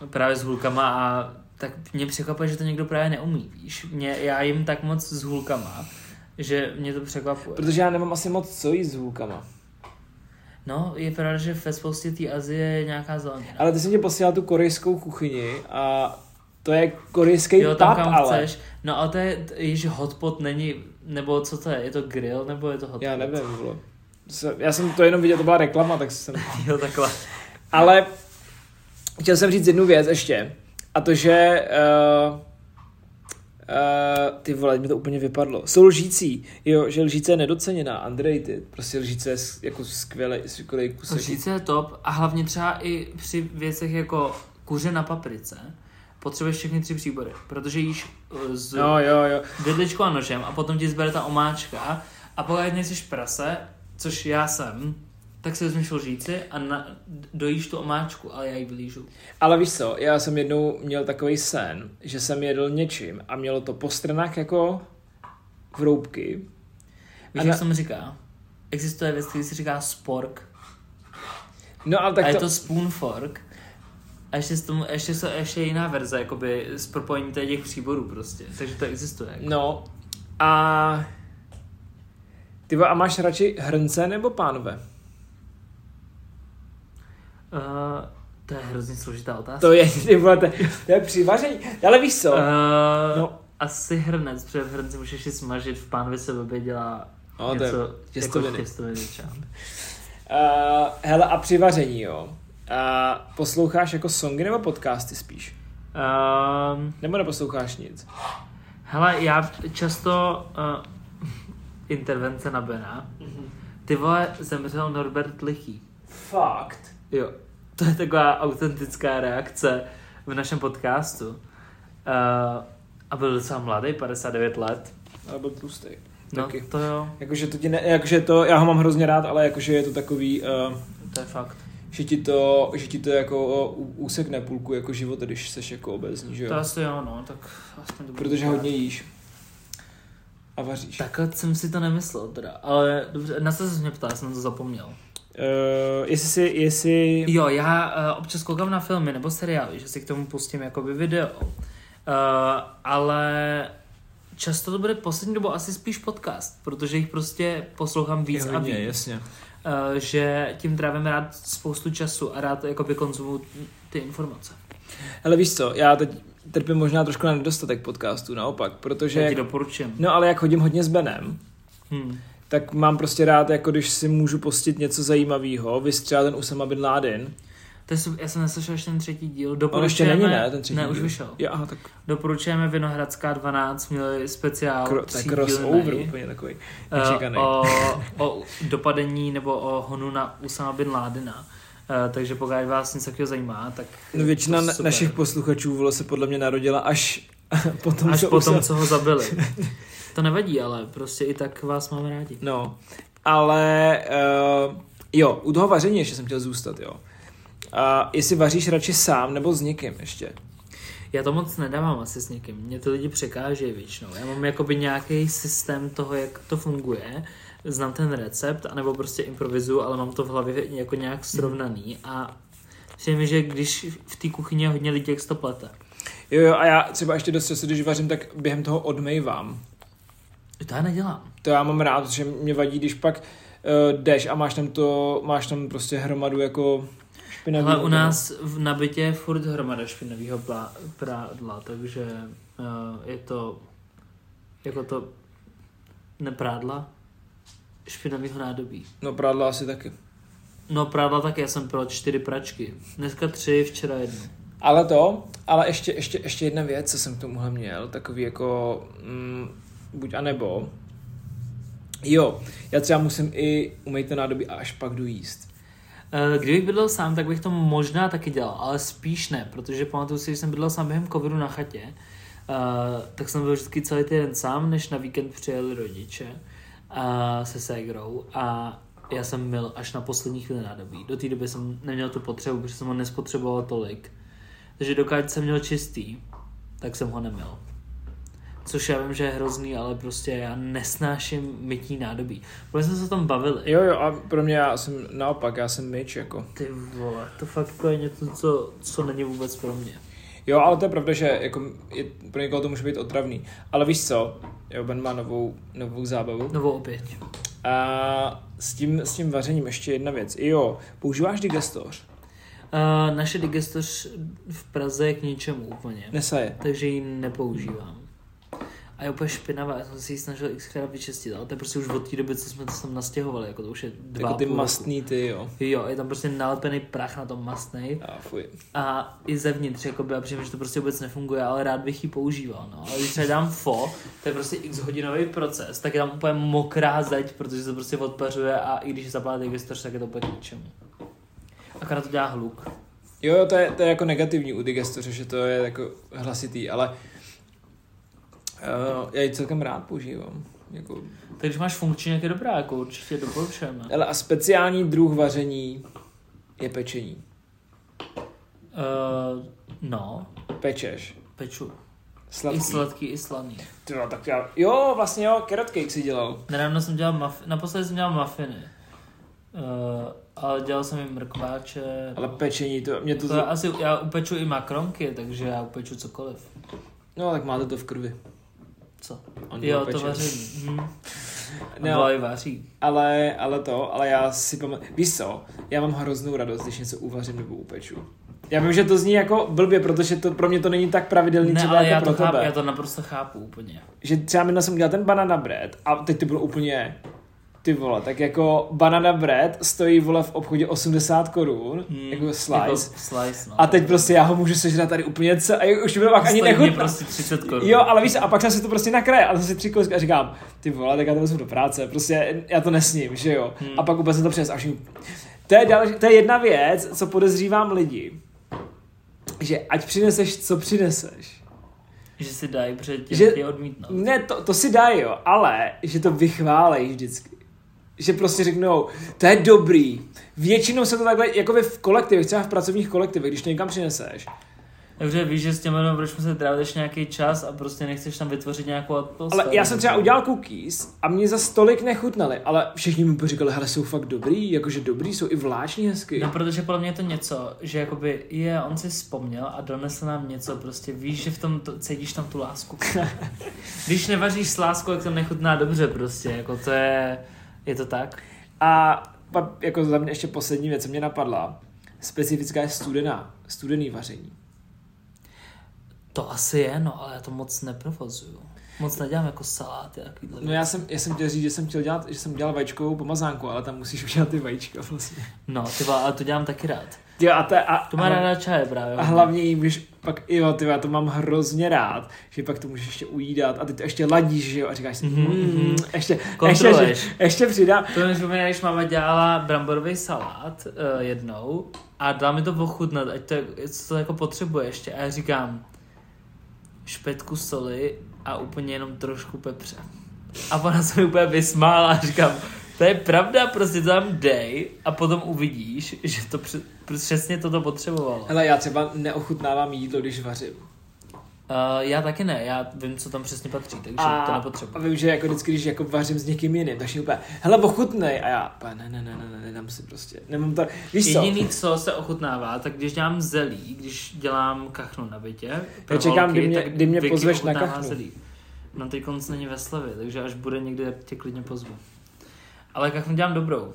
[SPEAKER 2] uh, právě s hulkama a tak mě překvapuje, že to někdo právě neumí, víš. Mě, já jim tak moc s hulkama, že mě to překvapuje.
[SPEAKER 1] Protože já nemám asi moc co jíst s hůlkama.
[SPEAKER 2] No, je pravda, že ve spoustě té Azie je nějaká zelenina.
[SPEAKER 1] Ale ty jsem tě posílal tu korejskou kuchyni a to je korejský
[SPEAKER 2] jo, tam
[SPEAKER 1] pub,
[SPEAKER 2] kam
[SPEAKER 1] ale.
[SPEAKER 2] chceš. No ale to je, již hotpot není, nebo co to je, je to grill, nebo je to hotpot?
[SPEAKER 1] Já nevím, bylo. Já jsem to jenom viděl, to byla reklama, tak jsem...
[SPEAKER 2] <laughs> Jo, takhle.
[SPEAKER 1] Ale chtěl jsem říct jednu věc ještě. A to, že... Uh, uh, ty vole, mi to úplně vypadlo. Jsou lžící. Jo, že lžíce je nedoceněná, underrated. Prostě lžíce je s- jako skvělý, skvělý kus.
[SPEAKER 2] Lžíce je top a hlavně třeba i při věcech jako kuře na paprice potřebuješ všechny tři příbory, protože jíš eh, z
[SPEAKER 1] No jo, jo.
[SPEAKER 2] vidličkou a nožem a potom ti zbere ta omáčka a pokud nejsi prase, což já jsem, tak si vezmeš lžíci a na, dojíš tu omáčku, ale já ji vylížu.
[SPEAKER 1] Ale víš co, já jsem jednou měl takový sen, že jsem jedl něčím a mělo to po stranách jako vroubky.
[SPEAKER 2] Víš,
[SPEAKER 1] A
[SPEAKER 2] jak
[SPEAKER 1] na-
[SPEAKER 2] se tomu říká? Existuje věc, který se říká spork
[SPEAKER 1] No ale tak
[SPEAKER 2] a je
[SPEAKER 1] to...
[SPEAKER 2] to spoon fork a ještě, s tomu, ještě, se, ještě je jiná verze, jakoby s propojením tady těch příborů prostě, takže to existuje.
[SPEAKER 1] No a... Ty vole, a máš radši hrnce nebo pánve?
[SPEAKER 2] Uh, to je hrozně složitá otázka.
[SPEAKER 1] To je, ty vole, to, to je přivaření. Ale víš co?
[SPEAKER 2] Uh,
[SPEAKER 1] No.
[SPEAKER 2] no. Asi hrnec, protože v hrnci můžeš si smažit, v pánvi se blbě dělá
[SPEAKER 1] No, to je
[SPEAKER 2] něco
[SPEAKER 1] těstoviny.
[SPEAKER 2] Jako těstoviny třeba.
[SPEAKER 1] Uh, hele, a přivaření, jo. Uh, posloucháš jako songy nebo podcasty spíš?
[SPEAKER 2] Ehm,
[SPEAKER 1] Nebo neposloucháš nic?
[SPEAKER 2] hele, já často uh, intervence
[SPEAKER 1] Mhm.
[SPEAKER 2] na Bena. Ty vole, zemřel Norbert Lichý.
[SPEAKER 1] Fakt.
[SPEAKER 2] Jo. to je taková autentická reakce v našem podcastu. Uh, a byl docela mladý, 59 let.
[SPEAKER 1] Ale byl tlustý.
[SPEAKER 2] No,
[SPEAKER 1] Taky.
[SPEAKER 2] to jo,
[SPEAKER 1] Jakože to, ti ne, jakože to, já ho mám hrozně rád, ale jakože je to takový, uh,
[SPEAKER 2] to je fakt.
[SPEAKER 1] že ti to, že ti to jako uh, ú- úsekne půlku jako život, když seš jako obezní, že
[SPEAKER 2] To
[SPEAKER 1] jo?
[SPEAKER 2] asi jo, no, tak aspoň to bude
[SPEAKER 1] Protože
[SPEAKER 2] dobrá.
[SPEAKER 1] hodně jíš. A vaříš.
[SPEAKER 2] Takhle jsem si to nemyslel teda, ale dobře, na co se mě ptá, jsem na to zapomněl.
[SPEAKER 1] Uh, jestli si, jestli...
[SPEAKER 2] Jo, já uh, občas koukám na filmy nebo seriály, že si k tomu pustím jakoby video, uh, ale často to bude poslední dobou asi spíš podcast, protože jich prostě poslouchám víc
[SPEAKER 1] Je
[SPEAKER 2] a víc.
[SPEAKER 1] hodně, jasně.
[SPEAKER 2] Eh, že tím trávím rád spoustu času a rád jakoby konzumuju ty informace.
[SPEAKER 1] Ale víš co, já teď trpím možná trošku na nedostatek podcastů, naopak, protože...
[SPEAKER 2] Že já
[SPEAKER 1] Jak,
[SPEAKER 2] ti doporučím.
[SPEAKER 1] no ale jak hodím hodně s Benem,
[SPEAKER 2] Hmm.
[SPEAKER 1] tak mám prostě rád, jako když si můžu pustit něco zajímavého, vystřelá ten Usama Bin Laden.
[SPEAKER 2] To je, sub- já jsem neslyšel ještě ten třetí díl.
[SPEAKER 1] On ještě není, ne? Ten třetí
[SPEAKER 2] ne, už
[SPEAKER 1] díl.
[SPEAKER 2] vyšel.
[SPEAKER 1] Jo, aha, tak
[SPEAKER 2] Doporučujeme Vinohradská 12, měli speciál
[SPEAKER 1] kro, to je
[SPEAKER 2] třídílnej,
[SPEAKER 1] crossover úplně takový
[SPEAKER 2] eh,
[SPEAKER 1] nečekaný.
[SPEAKER 2] o, o dopadení nebo o honu na Usama Bin Ládena. Eh, takže pokud vás něco takového zajímá, tak
[SPEAKER 1] No většina
[SPEAKER 2] to
[SPEAKER 1] na,
[SPEAKER 2] super.
[SPEAKER 1] našich posluchačů vole, se podle mě narodila až <laughs> potom,
[SPEAKER 2] Až
[SPEAKER 1] co
[SPEAKER 2] potom,
[SPEAKER 1] Usama-
[SPEAKER 2] co ho zabili.
[SPEAKER 1] <laughs>
[SPEAKER 2] To nevadí, ale prostě i tak vás máme rádi.
[SPEAKER 1] No, ale uh, jo, u toho vaření ještě jsem chtěl zůstat, jo. A jestli vaříš radši sám nebo s někým ještě.
[SPEAKER 2] Já to moc nedávám asi s někým, mě to lidi překáže většinou. Já mám jakoby nějaký systém toho, jak to funguje, znám ten recept, anebo prostě improvizuju, ale mám to v hlavě jako nějak srovnaný a přijde mi, že když v té kuchyni je hodně lidí, jak se to plete.
[SPEAKER 1] Jo, jo, a já třeba ještě dost často, když vařím, tak během toho odmývám.
[SPEAKER 2] To já nedělám.
[SPEAKER 1] To já mám rád, že mě vadí, když pak uh, jdeš a máš tam to, máš tam prostě hromadu jako špinavý.
[SPEAKER 2] Ale u nás v nabitě je furt hromada špinavého plá- prádla, takže uh, je to jako to neprádla špinavého nádobí.
[SPEAKER 1] No prádla asi taky.
[SPEAKER 2] No prádla taky, já jsem pral čtyři pračky. Dneska tři, včera jednu.
[SPEAKER 1] Ale to, ale ještě, ještě, ještě jedna věc, co jsem k tomuhle měl, takový jako mm, buď a nebo. Jo, já třeba musím i umýt ten nádobí a až pak jdu jíst.
[SPEAKER 2] Eh, Kdybych bydlel sám, tak bych to možná taky dělal, ale spíš ne, protože pamatuju si, že jsem bydlel sám během covidu na chatě, eh, tak jsem byl vždycky celý týden sám, než na víkend přijeli rodiče eh, se ségrou a já jsem byl až na poslední chvíli nádobí. Do té doby jsem neměl tu potřebu, protože jsem ho nespotřeboval tolik. Takže dokud jsem měl čistý, tak jsem ho neměl. Což já vím, že je hrozný, ale prostě já nesnáším mytí nádobí. Protože jsme se o tom bavili.
[SPEAKER 1] Jo, jo, a pro mě já jsem naopak, já jsem myč, jako.
[SPEAKER 2] Ty vole, to fakt jako je něco, co, co není vůbec pro mě.
[SPEAKER 1] Jo, ale to je pravda, že jako je, pro někoho to může být otravný. Ale víš co, jo, Ben má novou, novou zábavu.
[SPEAKER 2] Novou opět.
[SPEAKER 1] A s tím, s tím vařením ještě jedna věc. I Jo, používáš digestoř?
[SPEAKER 2] Uh, naše digestoř v Praze je k ničemu úplně,
[SPEAKER 1] Nesaje.
[SPEAKER 2] takže ji nepoužívám. A je úplně špinavá, já jsem si ji snažil xkrát vyčistit, ale to je prostě už od té doby, co jsme to sem nastěhovali, jako to už je dva
[SPEAKER 1] Jako ty
[SPEAKER 2] a půl roku.
[SPEAKER 1] mastný ty, jo.
[SPEAKER 2] Jo, je tam prostě nalepený prach na tom mastnej
[SPEAKER 1] A fuj.
[SPEAKER 2] a i zevnitř, jakoby, a přijím, že to prostě vůbec nefunguje, ale rád bych ji používal, no. Ale když třeba dám fo, to je prostě x hodinový proces, tak je tam úplně mokrá zeď, protože se to prostě odpařuje a i když zapálíte gestoř, tak je to úplně k ničemu. Akorát to dělá hluk.
[SPEAKER 1] Jo, jo, to je, to je jako negativní u digestoře, že to je jako hlasitý, ale uh, já ji celkem rád používám. Jako,
[SPEAKER 2] Tak když máš funkční, jak je dobrá, jako určitě doporučujeme.
[SPEAKER 1] ale a speciální druh vaření je pečení.
[SPEAKER 2] Uh, no,
[SPEAKER 1] Pečeš.
[SPEAKER 2] peču.
[SPEAKER 1] Sladký.
[SPEAKER 2] I sladký, i slaný.
[SPEAKER 1] Ty jo, tak já... Jo, vlastně jo, carrot cake si dělal.
[SPEAKER 2] Nedávno jsem dělal maf... naposledy jsem dělal mafiny. Uh, ale dělal jsem i mrkváče.
[SPEAKER 1] Ale pečení, to, mě to...
[SPEAKER 2] To já asi, já upeču i makronky, takže já upeču cokoliv.
[SPEAKER 1] No, tak máte to v krvi.
[SPEAKER 2] Co?
[SPEAKER 1] On
[SPEAKER 2] jo,
[SPEAKER 1] ho peče.
[SPEAKER 2] to vaření. Hm.
[SPEAKER 1] Ne,
[SPEAKER 2] No. Vlaj vaří.
[SPEAKER 1] ale, ale to, ale já si pamatuju, víš co, já mám hroznou radost, když něco uvařím nebo upeču. Já vím, že to zní jako blbě, protože to pro mě to není tak pravidelný,
[SPEAKER 2] Ne,
[SPEAKER 1] třeba
[SPEAKER 2] ale
[SPEAKER 1] jako
[SPEAKER 2] já
[SPEAKER 1] pro
[SPEAKER 2] to,
[SPEAKER 1] tebe.
[SPEAKER 2] chápu, já to naprosto chápu úplně.
[SPEAKER 1] že třeba minule jsem udělal ten banana bread a teď to bylo úplně ty vole, tak jako banana bread stojí vole v obchodě 80 korun, hmm, jako slice.
[SPEAKER 2] Jako
[SPEAKER 1] Jako...
[SPEAKER 2] slice, no.
[SPEAKER 1] A teď prostě já ho můžu sežrat tady úplně celý, a jo, už mi pak ani
[SPEAKER 2] Stojí mě
[SPEAKER 1] nechutná.
[SPEAKER 2] prostě 30 korun.
[SPEAKER 1] Jo, ale víš, a pak jsem si to prostě nakraje a jsem si tři kousky a říkám, ty vole, tak já to vezmu do práce, prostě já to nesním, že jo. Hmm. A pak úplně jsem to přines a všim, To je, dal, to je jedna věc, co podezřívám lidi. Že ať přineseš, co přineseš.
[SPEAKER 2] Že si dají předtím
[SPEAKER 1] Že- Mm.
[SPEAKER 2] že... je odmítnout.
[SPEAKER 1] Ne, to, to si dá, jo, ale že to vychválej vždycky. Že prostě řeknou, to je dobrý. Většinou se to takhle, jako v kolektivech, třeba v pracovních kolektivech, když to někam přineseš.
[SPEAKER 2] Takže víš, že s těma lidmi budeš muset trávit ještě nějaký čas a prostě nechceš tam vytvořit nějakou atmosféru.
[SPEAKER 1] Ale já jsem třeba udělal cookies a mě za stolik nechutnaly, ale všichni mi poříkali, hele, jsou fakt dobrý, jakože dobrý, jsou i vláční hezky.
[SPEAKER 2] No, protože podle mě je to něco, že jakoby je, on si vzpomněl a donesl nám něco, prostě víš, že v tom to, cítíš tam tu lásku. Když nevaříš s láskou, tak to nechutná dobře prostě, jako to je, je to tak.
[SPEAKER 1] A pak jako za mě ještě poslední věc, co mě napadla, specifická je studená, studený vaření.
[SPEAKER 2] To asi je, no, ale já to moc neprovozuju. Moc nedělám jako saláty a takovýhle.
[SPEAKER 1] No já jsem, já jsem chtěl říct, že jsem chtěl dělat, že jsem dělal vajíčkovou pomazánku, ale tam musíš udělat ty vajíčka vlastně.
[SPEAKER 2] No, ty vole, ale to dělám taky rád.
[SPEAKER 1] Jo, a, to je- a,
[SPEAKER 2] To má
[SPEAKER 1] a,
[SPEAKER 2] ráda čaje právě.
[SPEAKER 1] a hlavně jí můžeš pak, jo, ty, já to mám hrozně rád, že pak to můžeš ještě ujídat a ty to ještě ladíš, že jo, a říkáš si,
[SPEAKER 2] Mhm,
[SPEAKER 1] mm,
[SPEAKER 2] mhm.
[SPEAKER 1] ještě, ještě, že-
[SPEAKER 2] Kontroluješ.
[SPEAKER 1] ještě přidám.
[SPEAKER 2] To mi připomíná, když máma dělala bramborový salát uh, jednou a dala mi to ochutnat, ať to, co to jako potřebuje ještě. A já říkám, špetku soli a úplně jenom trošku pepře. A ona se mi úplně vysmála a říkám, to je pravda, prostě to tam dej a potom uvidíš, že to při- přesně toto potřebovalo.
[SPEAKER 1] No. Hele, já třeba neochutnávám jídlo, když vařím.
[SPEAKER 2] Uh, já taky ne, já vím, co tam přesně patří, takže
[SPEAKER 1] a,
[SPEAKER 2] to
[SPEAKER 1] a
[SPEAKER 2] nepotřebuji.
[SPEAKER 1] vím, že jako vždycky, když jako vařím s někým jiným, tak všichni úplně, hele, ochutnej. A já, "Pa, ne, ne, ne, ne, ne, nedám si prostě. Nemám to, víš co?
[SPEAKER 2] Jediný, co se ochutnává, tak když dělám zelí, když dělám kachnu na bytě, pro
[SPEAKER 1] Já čekám, kdy mě-
[SPEAKER 2] tak
[SPEAKER 1] kdy mě
[SPEAKER 2] Vicky
[SPEAKER 1] pozveš na
[SPEAKER 2] ochutnává
[SPEAKER 1] kachnu.
[SPEAKER 2] Zelí. No teď konc není ve slevě, takže až bude někde, tak tě klidně pozvu. Ale kachnu dělám dobrou.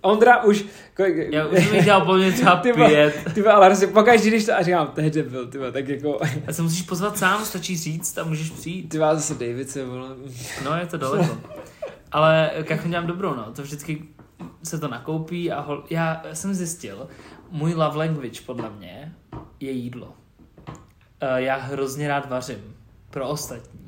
[SPEAKER 1] Ondra už, kolik,
[SPEAKER 2] Já už jsem jich dělal podle mě třeba
[SPEAKER 1] Ty vole.
[SPEAKER 2] pět.
[SPEAKER 1] <laughs> ty vole, ale prostě pokaždý, když to, a říkám, to je debil, ty vole, tak jako, <laughs>
[SPEAKER 2] A se musíš pozvat sám, stačí říct a můžeš přijít.
[SPEAKER 1] ty vole, zase David se volá.
[SPEAKER 2] No, je to daleko. Ale kachnu dělám dobrou, no. To vždycky se to nakoupí a hol... já jsem zjistil, můj love language podle mě je jídlo. Eh, Já hrozně rád vařím pro ostatní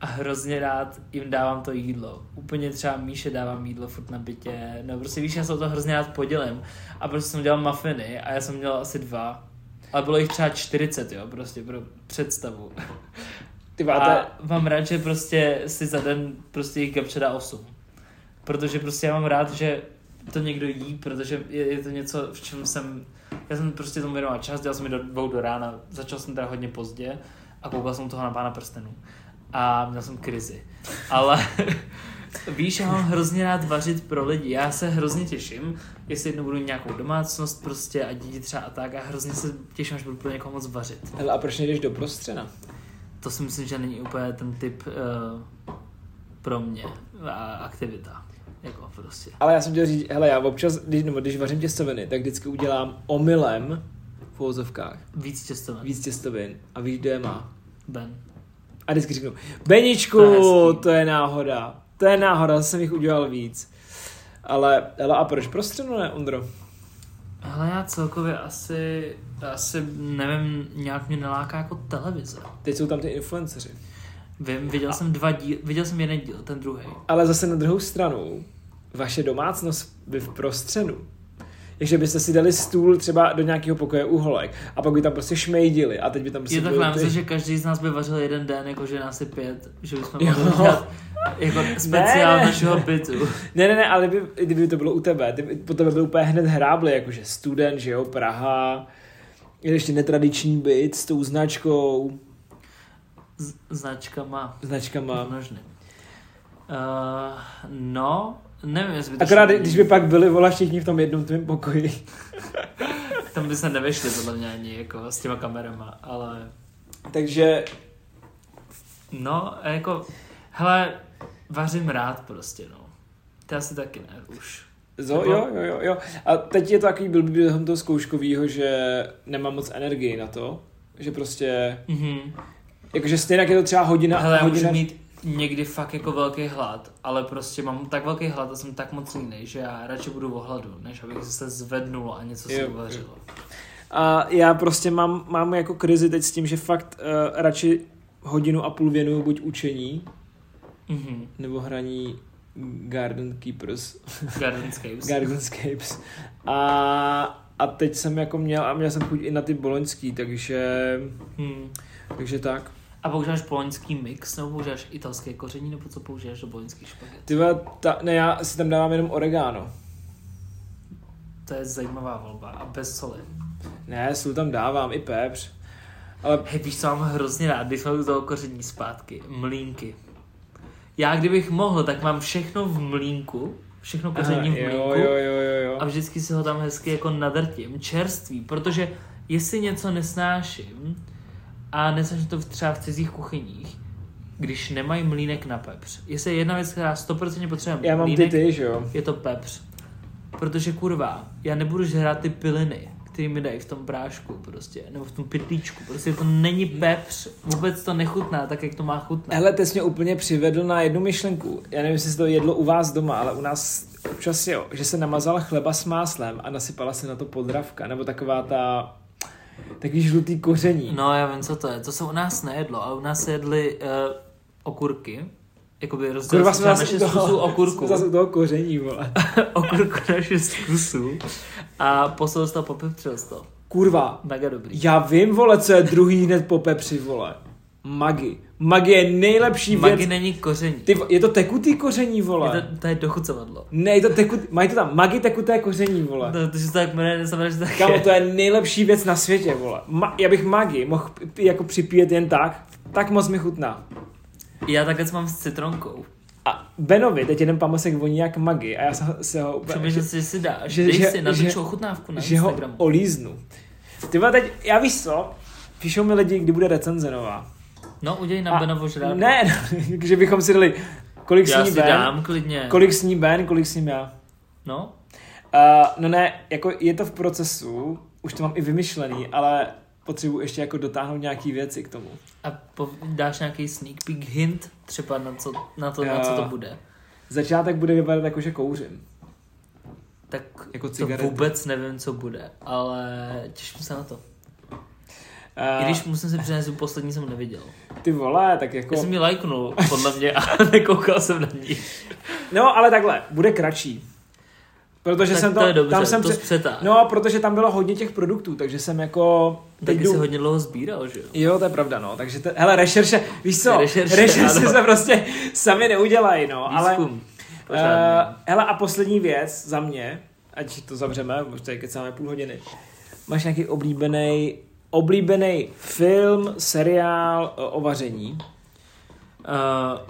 [SPEAKER 2] a hrozně rád jim dávám to jídlo. Úplně třeba Míše dávám jídlo furt na bytě, no prostě víš, já se o to hrozně rád podělím a prostě jsem dělal mafiny a já jsem dělal asi dva, ale bylo jich třeba 40, jo, prostě pro představu.
[SPEAKER 1] Ty vole, to je,
[SPEAKER 2] A mám rád, že prostě si za den prostě jich gabče dá 8. Protože prostě já mám rád, že to někdo jí, protože je, je to něco, v čem jsem... Já jsem prostě tomu věnoval čas, dělal jsem mi do dvou do rána, začal jsem teda hodně pozdě a koukal jsem toho na pána prstenů. A měl jsem krizi. Ale <laughs> víš, já mám hrozně rád vařit pro lidi. Já se hrozně těším, jestli jednou budu mít nějakou domácnost prostě a děti třeba a tak a hrozně se těším, až budu pro někoho moc vařit.
[SPEAKER 1] hele, a proč nejdeš do prostřena?
[SPEAKER 2] To si myslím, že není úplně ten typ uh, pro mě a aktivita. Jako prostě.
[SPEAKER 1] Ale já jsem chtěl říct, hele, já občas, když, nebo když vařím těstoviny, tak vždycky udělám omylem v uvozovkách
[SPEAKER 2] Víc těstoven.
[SPEAKER 1] víc těstovin a víš, kdo je má.
[SPEAKER 2] Ben.
[SPEAKER 1] A vždycky řeknu, Beničku,
[SPEAKER 2] To je hezký.
[SPEAKER 1] to je náhoda, to je náhoda, zase jsem jich udělal víc. Ale, ale a proč prostřenu ne, Ondro?
[SPEAKER 2] Hele, já celkově asi, asi nevím, nějak mě neláká jako televize.
[SPEAKER 1] Teď jsou tam ty influenceři.
[SPEAKER 2] Vím, viděl jsem dva díl, viděl jsem jeden díl, ten druhý.
[SPEAKER 1] Ale zase na druhou stranu, vaše domácnost by v prostřenu. Takže byste si dali stůl třeba do nějakého pokoje uholek a pak by tam prostě šmejdili a teď by tam prostě
[SPEAKER 2] Je
[SPEAKER 1] byly
[SPEAKER 2] takhle, já
[SPEAKER 1] ty-
[SPEAKER 2] myslím, že každý z nás by vařil jeden den, jakože nás je pět, že bychom
[SPEAKER 1] Jo.
[SPEAKER 2] mohli dělat jako speciál
[SPEAKER 1] Ne.
[SPEAKER 2] našeho bytu.
[SPEAKER 1] Ne, ne, ne, ale by, kdyby to bylo u tebe, ty, by- po tebe byl úplně hned hrábly, jakože student, že jo, Praha, je ještě netradiční byt s tou značkou,
[SPEAKER 2] Z- značka má.
[SPEAKER 1] značkama.
[SPEAKER 2] Množný. Uh, no, nevím, jestli by to
[SPEAKER 1] Akorát,
[SPEAKER 2] šlo-
[SPEAKER 1] když by pak byli vola všichni v tom jednom tvém pokoji. <laughs>
[SPEAKER 2] Tam by se nevešli podle mě ani jako s těma kamerama, ale
[SPEAKER 1] Takže
[SPEAKER 2] no, a jako, hele, vařím rád prostě, no. Ty asi taky ne, už.
[SPEAKER 1] zo, jo, jo, jo, jo. A teď je to takový blbý během toho zkouškovýho, že nemám moc energii na to. Že prostě,
[SPEAKER 2] Mhm.
[SPEAKER 1] jakože stejně jak je to třeba hodina,
[SPEAKER 2] No, Hele, já
[SPEAKER 1] hodina
[SPEAKER 2] můžu mít někdy fakt jako velký hlad, ale prostě mám tak velký hlad a jsem tak moc línej, že já radši budu v hladu, než abych se zvednul a něco se
[SPEAKER 1] Jo,
[SPEAKER 2] uvařilo.
[SPEAKER 1] a já prostě mám, mám jako krizi teď s tím, že fakt uh, radši hodinu a půl věnuju buď učení,
[SPEAKER 2] Mhm.
[SPEAKER 1] nebo hraní Garden Keepers,
[SPEAKER 2] Gardenscapes. <laughs>
[SPEAKER 1] Gardenscapes. A, a teď jsem jako měl, a měl jsem chuť i na ty boloňský, takže,
[SPEAKER 2] Hmm.
[SPEAKER 1] takže tak.
[SPEAKER 2] A používáš boloňský mix, nebo používáš italské koření, nebo co používáš do boloňských špaget?
[SPEAKER 1] Ty vole, ta, ne, já si tam dávám jenom oregano.
[SPEAKER 2] To je zajímavá volba a bez soli.
[SPEAKER 1] Ne, sůl tam dávám, i pepř. Ale
[SPEAKER 2] Hej, víš, co mám hrozně rád, když jsme u toho koření zpátky. Mlínky. Já kdybych mohl, tak mám všechno v mlínku, všechno koření v
[SPEAKER 1] Aha,
[SPEAKER 2] mlínku
[SPEAKER 1] jo, jo, jo, jo, jo.
[SPEAKER 2] a vždycky si ho tam hezky jako nadrtím, čerstvý, protože jestli něco nesnáším a nesnáším to v- třeba v cizích kuchyních, když nemají mlínek na pepř. Jestli je jedna věc, která 100% potřebuje
[SPEAKER 1] Já mám ty
[SPEAKER 2] mlínek,
[SPEAKER 1] ty, že jo.
[SPEAKER 2] je to pepř. Protože kurva, já nebudu žrát ty piliny, které mi dají v tom prášku prostě, nebo v tom pytlíčku. Prostě to není pepř, vůbec to nechutná tak, jak to má chutnat.
[SPEAKER 1] Hele, teď jsi mě úplně přivedl na jednu myšlenku. Já nevím, jestli se to jedlo u vás doma, ale u nás občas jo, že se namazala chleba s máslem a nasypala se na to podravka, nebo taková ta, takový žlutý koření.
[SPEAKER 2] No já vím, co to je. To se u nás nejedlo, ale u nás se jedly uh, okurky. Jakoby
[SPEAKER 1] Kurva
[SPEAKER 2] rozdělili
[SPEAKER 1] no,
[SPEAKER 2] jsme
[SPEAKER 1] jsme
[SPEAKER 2] třeba na
[SPEAKER 1] zase u
[SPEAKER 2] šest kusů
[SPEAKER 1] toho,
[SPEAKER 2] okurku.
[SPEAKER 1] jsme zase u toho koření, vole.
[SPEAKER 2] <laughs> okurku na šest kusů. A poslal jsi to, popepřil jsi to.
[SPEAKER 1] Kurva,
[SPEAKER 2] Mega dobrý.
[SPEAKER 1] já vím, vole, co je druhý hned po pepři, vole. Magi. Magi je nejlepší Magi
[SPEAKER 2] Magi
[SPEAKER 1] věc.
[SPEAKER 2] není koření.
[SPEAKER 1] Ty, vo- je to tekutý koření, vole.
[SPEAKER 2] Je to, to je dochucovadlo.
[SPEAKER 1] Ne, je to tekut, mají to tam, magi tekuté koření, vole.
[SPEAKER 2] No, to, že se tak jmenuje, neznamená, že to tak
[SPEAKER 1] Kámo,
[SPEAKER 2] je.
[SPEAKER 1] to je nejlepší věc na světě, vole. Ma- já bych magi mohl p- p- jako připít jen tak, tak moc mi chutná.
[SPEAKER 2] Já takhle mám s citronkou.
[SPEAKER 1] A Benovi teď jeden pamosek voní jak magi a já se, ho- se ho úplně,
[SPEAKER 2] Přemýšlel si, že si dáš,
[SPEAKER 1] že-
[SPEAKER 2] že, dej
[SPEAKER 1] že-
[SPEAKER 2] si, natoč
[SPEAKER 1] že-
[SPEAKER 2] ochutnávku na
[SPEAKER 1] že ho
[SPEAKER 2] Instagramu.
[SPEAKER 1] olíznu. Ty vole, teď, já víš co, píšou mi lidi, kdy bude recenze nová.
[SPEAKER 2] No, udělej na Benovo žrádlo.
[SPEAKER 1] ne, <laughs> no, že bychom si dali, kolik
[SPEAKER 2] já
[SPEAKER 1] sní
[SPEAKER 2] si
[SPEAKER 1] Ben,
[SPEAKER 2] dám klidně.
[SPEAKER 1] kolik sní Ben, kolik sním já.
[SPEAKER 2] No,
[SPEAKER 1] Uh, no ne, jako je to v procesu, už to mám i vymyšlený, ale potřebuji ještě jako dotáhnout nějaký věci k tomu.
[SPEAKER 2] a po, dáš nějaký sneak peek hint třeba na, co, na to, na
[SPEAKER 1] Jo.
[SPEAKER 2] co to bude.
[SPEAKER 1] Začátek bude vypadat jako, že kouřím.
[SPEAKER 2] Tak
[SPEAKER 1] Jako
[SPEAKER 2] to
[SPEAKER 1] cigarety.
[SPEAKER 2] vůbec nevím, co bude, ale těším se na to.
[SPEAKER 1] Uh,
[SPEAKER 2] I když musím se přiznat, že tu poslední jsem neviděl.
[SPEAKER 1] Ty vole, tak jako...
[SPEAKER 2] Já jsem ji lajknul, podle mě, <laughs> a nekoukal jsem na
[SPEAKER 1] <laughs>
[SPEAKER 2] ní.
[SPEAKER 1] No, ale takhle, bude kratší. Protože
[SPEAKER 2] tak
[SPEAKER 1] jsem
[SPEAKER 2] to,
[SPEAKER 1] tam,
[SPEAKER 2] je dobře,
[SPEAKER 1] tam jsem
[SPEAKER 2] to
[SPEAKER 1] pře-
[SPEAKER 2] zpřetáhl. No,
[SPEAKER 1] No, protože tam bylo hodně těch produktů, takže jsem jako...
[SPEAKER 2] Taky
[SPEAKER 1] jdu-
[SPEAKER 2] jsi hodně dlouho sbíral, že jo?
[SPEAKER 1] Jo, to je pravda, no. Takže, te... hele, rešerše, víš co,
[SPEAKER 2] Rešerše,
[SPEAKER 1] rešerše, rešerše
[SPEAKER 2] ano.
[SPEAKER 1] se prostě sami neudělají, no, ale...
[SPEAKER 2] Výzkum.
[SPEAKER 1] Uh,
[SPEAKER 2] Pořádný.
[SPEAKER 1] hele, a poslední věc za mě, ať to zavřeme, možná je kecáme půl hodiny. Máš nějaký oblíbený oblíbený film, seriál eh, o vaření? Eh,
[SPEAKER 2] Uh,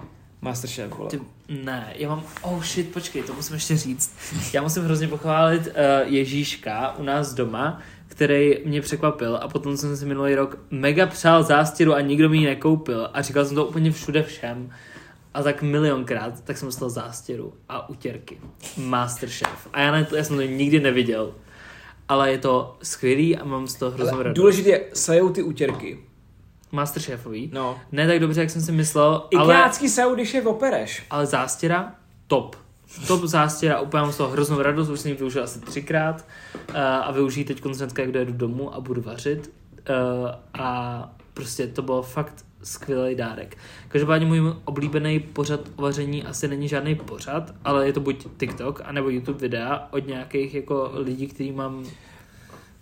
[SPEAKER 1] Masterchef, vole.
[SPEAKER 2] Ty, ne, já mám, oh shit, počkej, to musím ještě říct. Já musím hrozně pochválit uh, Ježíška u nás doma, který mě překvapil a potom jsem si minulý rok mega přál zástěru a nikdo mi ji nekoupil a říkal jsem to úplně všude všem a tak milionkrát, tak jsem dostal zástěru a utěrky. Masterchef. A já, ne, já jsem to nikdy neviděl. Ale je to skvělý a mám z toho hroznou
[SPEAKER 1] Ale
[SPEAKER 2] radost.
[SPEAKER 1] důležité je, sajou ty útěrky.
[SPEAKER 2] Masterchefový.
[SPEAKER 1] No.
[SPEAKER 2] Ne tak dobře, jak jsem si myslel, ale...
[SPEAKER 1] Ikrácký ale... sajou, když je opereš.
[SPEAKER 2] Ale zástěra, top. Top zástěra, úplně mám z toho hroznou radost, už jsem ji využil asi třikrát eh, a využiji teď hnedka, jak dojedu domů a budu vařit. Eh, A prostě to bylo fakt skvělý dárek. Každopádně můj oblíbený pořad o vaření asi není žádný pořad, ale je to buď TikTok, anebo YouTube videa od nějakých jako lidí, který mám,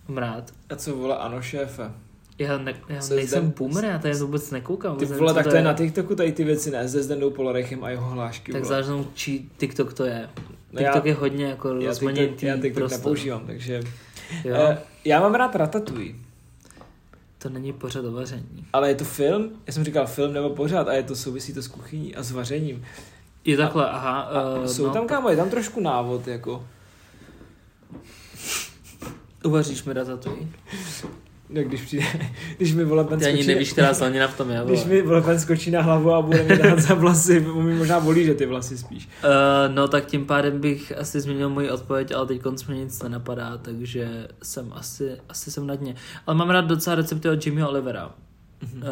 [SPEAKER 2] mám rád.
[SPEAKER 1] A co vole, ano šéfe.
[SPEAKER 2] Já, ne, já
[SPEAKER 1] Co je
[SPEAKER 2] nejsem
[SPEAKER 1] zde-
[SPEAKER 2] boomer, já tady vůbec nekoukám.
[SPEAKER 1] Ty
[SPEAKER 2] vůbec nevím,
[SPEAKER 1] vole,
[SPEAKER 2] co
[SPEAKER 1] tak to je na TikToku tady ty věci, ne? Zde s Dendou Polarechem a jeho hlášky,
[SPEAKER 2] Tak
[SPEAKER 1] vole.
[SPEAKER 2] záleží, čí TikTok to je.
[SPEAKER 1] No já-
[SPEAKER 2] TikTok je hodně jako
[SPEAKER 1] Já TikTok, já
[SPEAKER 2] rozmanitý
[SPEAKER 1] TikTok
[SPEAKER 2] prostor.
[SPEAKER 1] nepoužívám, takže...
[SPEAKER 2] Jo,
[SPEAKER 1] Eh, já mám rád Ratatouille,
[SPEAKER 2] to není pořad o vaření.
[SPEAKER 1] ale je to film, já jsem říkal film nebo pořád, a je to souvisí to s kuchyní a s vařením.
[SPEAKER 2] Je takhle, aha. eh,
[SPEAKER 1] Jsou
[SPEAKER 2] no,
[SPEAKER 1] tam, kámo, je tam trošku návod, jako.
[SPEAKER 2] Uvaříš mi ratatouille.
[SPEAKER 1] No, když přijde, <laughs> když mi vole Ben
[SPEAKER 2] Ty ani
[SPEAKER 1] skočí-
[SPEAKER 2] nevíš, která zelenina v tom je.
[SPEAKER 1] Když
[SPEAKER 2] Vole.
[SPEAKER 1] mi vole Ben skočí na hlavu a bude mi dát za vlasy, <laughs> mi možná volí, že ty vlasy spíš.
[SPEAKER 2] Eh, no tak tím pádem bych asi změnil moji odpověď, ale teď konc mě nic nenapadá, takže jsem asi, asi jsem na dně. Ale mám rád docela recepty od Jimmyho Olivera.
[SPEAKER 1] Mhm.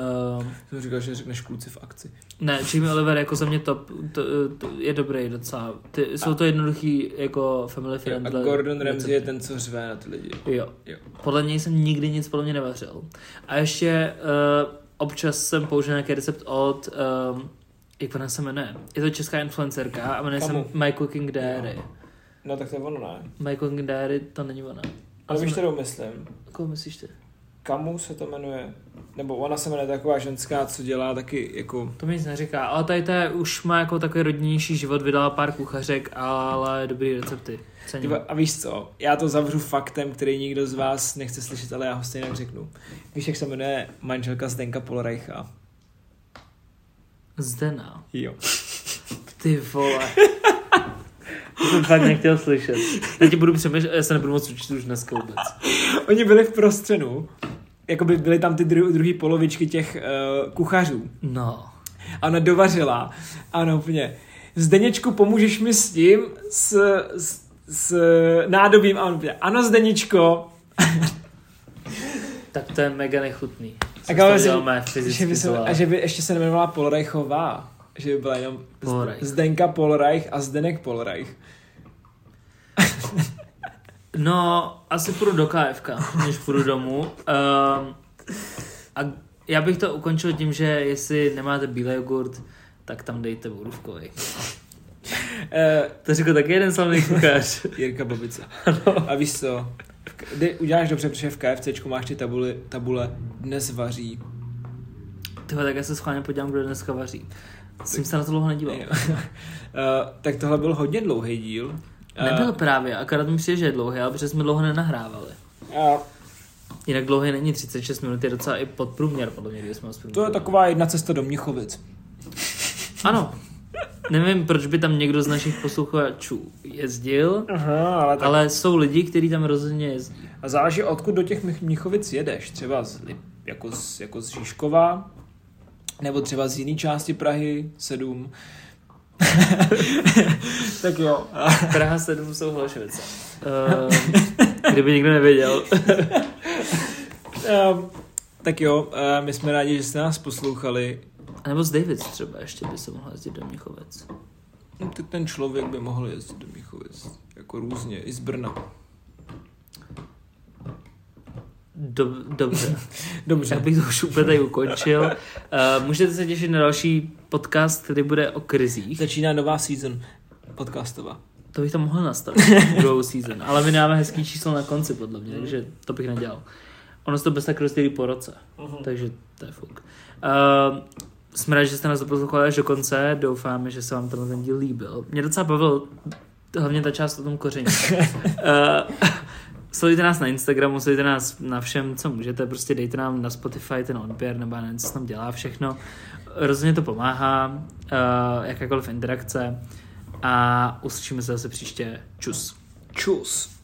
[SPEAKER 2] Eh,
[SPEAKER 1] Jsem říkal, že řekneš kluci v akci.
[SPEAKER 2] Ne, Jamie Oliver jako za mě top, to, to je dobrý docela. Ty, jsou to jednoduchý jako family
[SPEAKER 1] Jo,
[SPEAKER 2] friendly.
[SPEAKER 1] A Gordon
[SPEAKER 2] recepty.
[SPEAKER 1] Ramsay je ten, co řve na ty lidi.
[SPEAKER 2] Jo.
[SPEAKER 1] Jo.
[SPEAKER 2] Podle něj jsem nikdy nic podle mě eh, nevařil. A ještě uh, občas jsem použil nějaký recept od um, jak ona se jmenuje? Je to česká influencerka a jmenuje se
[SPEAKER 1] Kamu?
[SPEAKER 2] My Cooking Diary.
[SPEAKER 1] No tak to je ono, ne?
[SPEAKER 2] My Cooking Diary, to není ona.
[SPEAKER 1] Ale víš,
[SPEAKER 2] jsme-
[SPEAKER 1] kterou myslím?
[SPEAKER 2] Koho myslíš ty?
[SPEAKER 1] Kamu se to jmenuje? Nebo ona se jmenuje taková ženská, co dělá taky jako...
[SPEAKER 2] To mi nic neříká, ale tady ta už má jako takový rodnější život, vydala pár kuchařek, ale dobrý recepty. Cením.
[SPEAKER 1] Tyba, a víš co, já to zavřu faktem, který nikdo z vás nechce slyšet, ale já ho stejně řeknu. Víš, jak se jmenuje manželka Zdenka Polreicha?
[SPEAKER 2] Zdena.
[SPEAKER 1] Jo. <laughs>
[SPEAKER 2] Ty vole. to jsem fakt nechtěl slyšet. Já ti budu přemýšlet, já se nebudu moc učit už dneska vůbec.
[SPEAKER 1] Oni byli v prostřenu, jakoby byly tam ty dru- druhé polovičky těch uh, kuchařů.
[SPEAKER 2] No.
[SPEAKER 1] A ona dovařila. Ano, úplně. Zdeněčku, pomůžeš mi s tím, s, s, s nádobím. A on úplně, ano, Zdeněčko.
[SPEAKER 2] Tak to je mega nechutný.
[SPEAKER 1] A
[SPEAKER 2] Jsem
[SPEAKER 1] kámo,
[SPEAKER 2] to
[SPEAKER 1] že-
[SPEAKER 2] dělal mé
[SPEAKER 1] Že by
[SPEAKER 2] fyzicky
[SPEAKER 1] se,
[SPEAKER 2] zlé.
[SPEAKER 1] a že by ještě se nejmenovala Polreichová. Že by byla jenom Z-
[SPEAKER 2] Polreich.
[SPEAKER 1] Zdenka Polreich a Zdenek Polreich.
[SPEAKER 2] No, asi půjdu do KFK, než půjdu domů. Um, a já bych to ukončil tím, že jestli nemáte bílý jogurt, tak tam dejte borůvkový.
[SPEAKER 1] Eh,
[SPEAKER 2] To řekl taky jeden
[SPEAKER 1] <laughs>
[SPEAKER 2] slavný kuchař.
[SPEAKER 1] Jirka Babice. A víš co? V K- Kdy uděláš dobře, protože v KFCčku máš ty tabule, tabule dnes vaří.
[SPEAKER 2] Tyhle, tak já se schválně podívám, kdo dneska vaří. Jsem se na to dlouho nedíval.
[SPEAKER 1] Jo. <laughs> Eh, tak tohle byl hodně dlouhý díl. Eh,
[SPEAKER 2] Nebyl právě, akorát mi přijde, že je dlouhý, ale protože jsme dlouho nenahrávali.
[SPEAKER 1] a
[SPEAKER 2] Jinak dlouhý není 36 minut, je docela i podprůměr, podle mě, když jsme ho
[SPEAKER 1] To je taková jedna cesta do Mnichovic.
[SPEAKER 2] Ano. Nevím, proč by tam někdo z našich posluchačů jezdil,
[SPEAKER 1] Aha, ale tak...
[SPEAKER 2] ale jsou lidi, kteří tam rozhodně jezdí.
[SPEAKER 1] A záleží, odkud do těch Mich- Mnichovic jedeš. Třeba z, Lip- jako, z, jako z Žižkova, nebo třeba z jiné části Prahy, sedm. <laughs> tak <laughs> jo.
[SPEAKER 2] Praha 7 jsou Holešovice. Ehm, kdyby někdo nevěděl.
[SPEAKER 1] Um, tak jo, eh, my jsme rádi, že jste nás poslouchali.
[SPEAKER 2] A nebo z Davids třeba ještě by se mohl jezdit do Měchovec.
[SPEAKER 1] No, tak ten člověk by mohl jezdit do Mnichovic. Jako různě, i z Brna.
[SPEAKER 2] Dob- dobře. Já
[SPEAKER 1] Dobře.
[SPEAKER 2] bych to už úplně tady ukončil. Uh, můžete se těšit na další podcast, který bude o krizích.
[SPEAKER 1] Začíná nová season podcastová.
[SPEAKER 2] To bych tam mohl nastavit, druhou season. Ale my dáme hezký číslo na konci, podle mě, takže to bych nedělal. Ono se to bez tak rozdělí po roce, takže to je fuk. Uh, jsme rádi, že jste nás doposlouchali až do konce, doufáme, že se vám tenhle ten díl líbil. Mě docela bavil hlavně ta část o tom koření. uh, sledujte nás na Instagramu, sledujte nás na všem, co můžete, prostě dejte nám na Spotify ten odběr, nebo já nevím, co se tam dělá všechno. Rozhodně to pomáhá, uh, jakákoliv interakce a uslyšíme se zase příště. Čus.
[SPEAKER 1] Čus.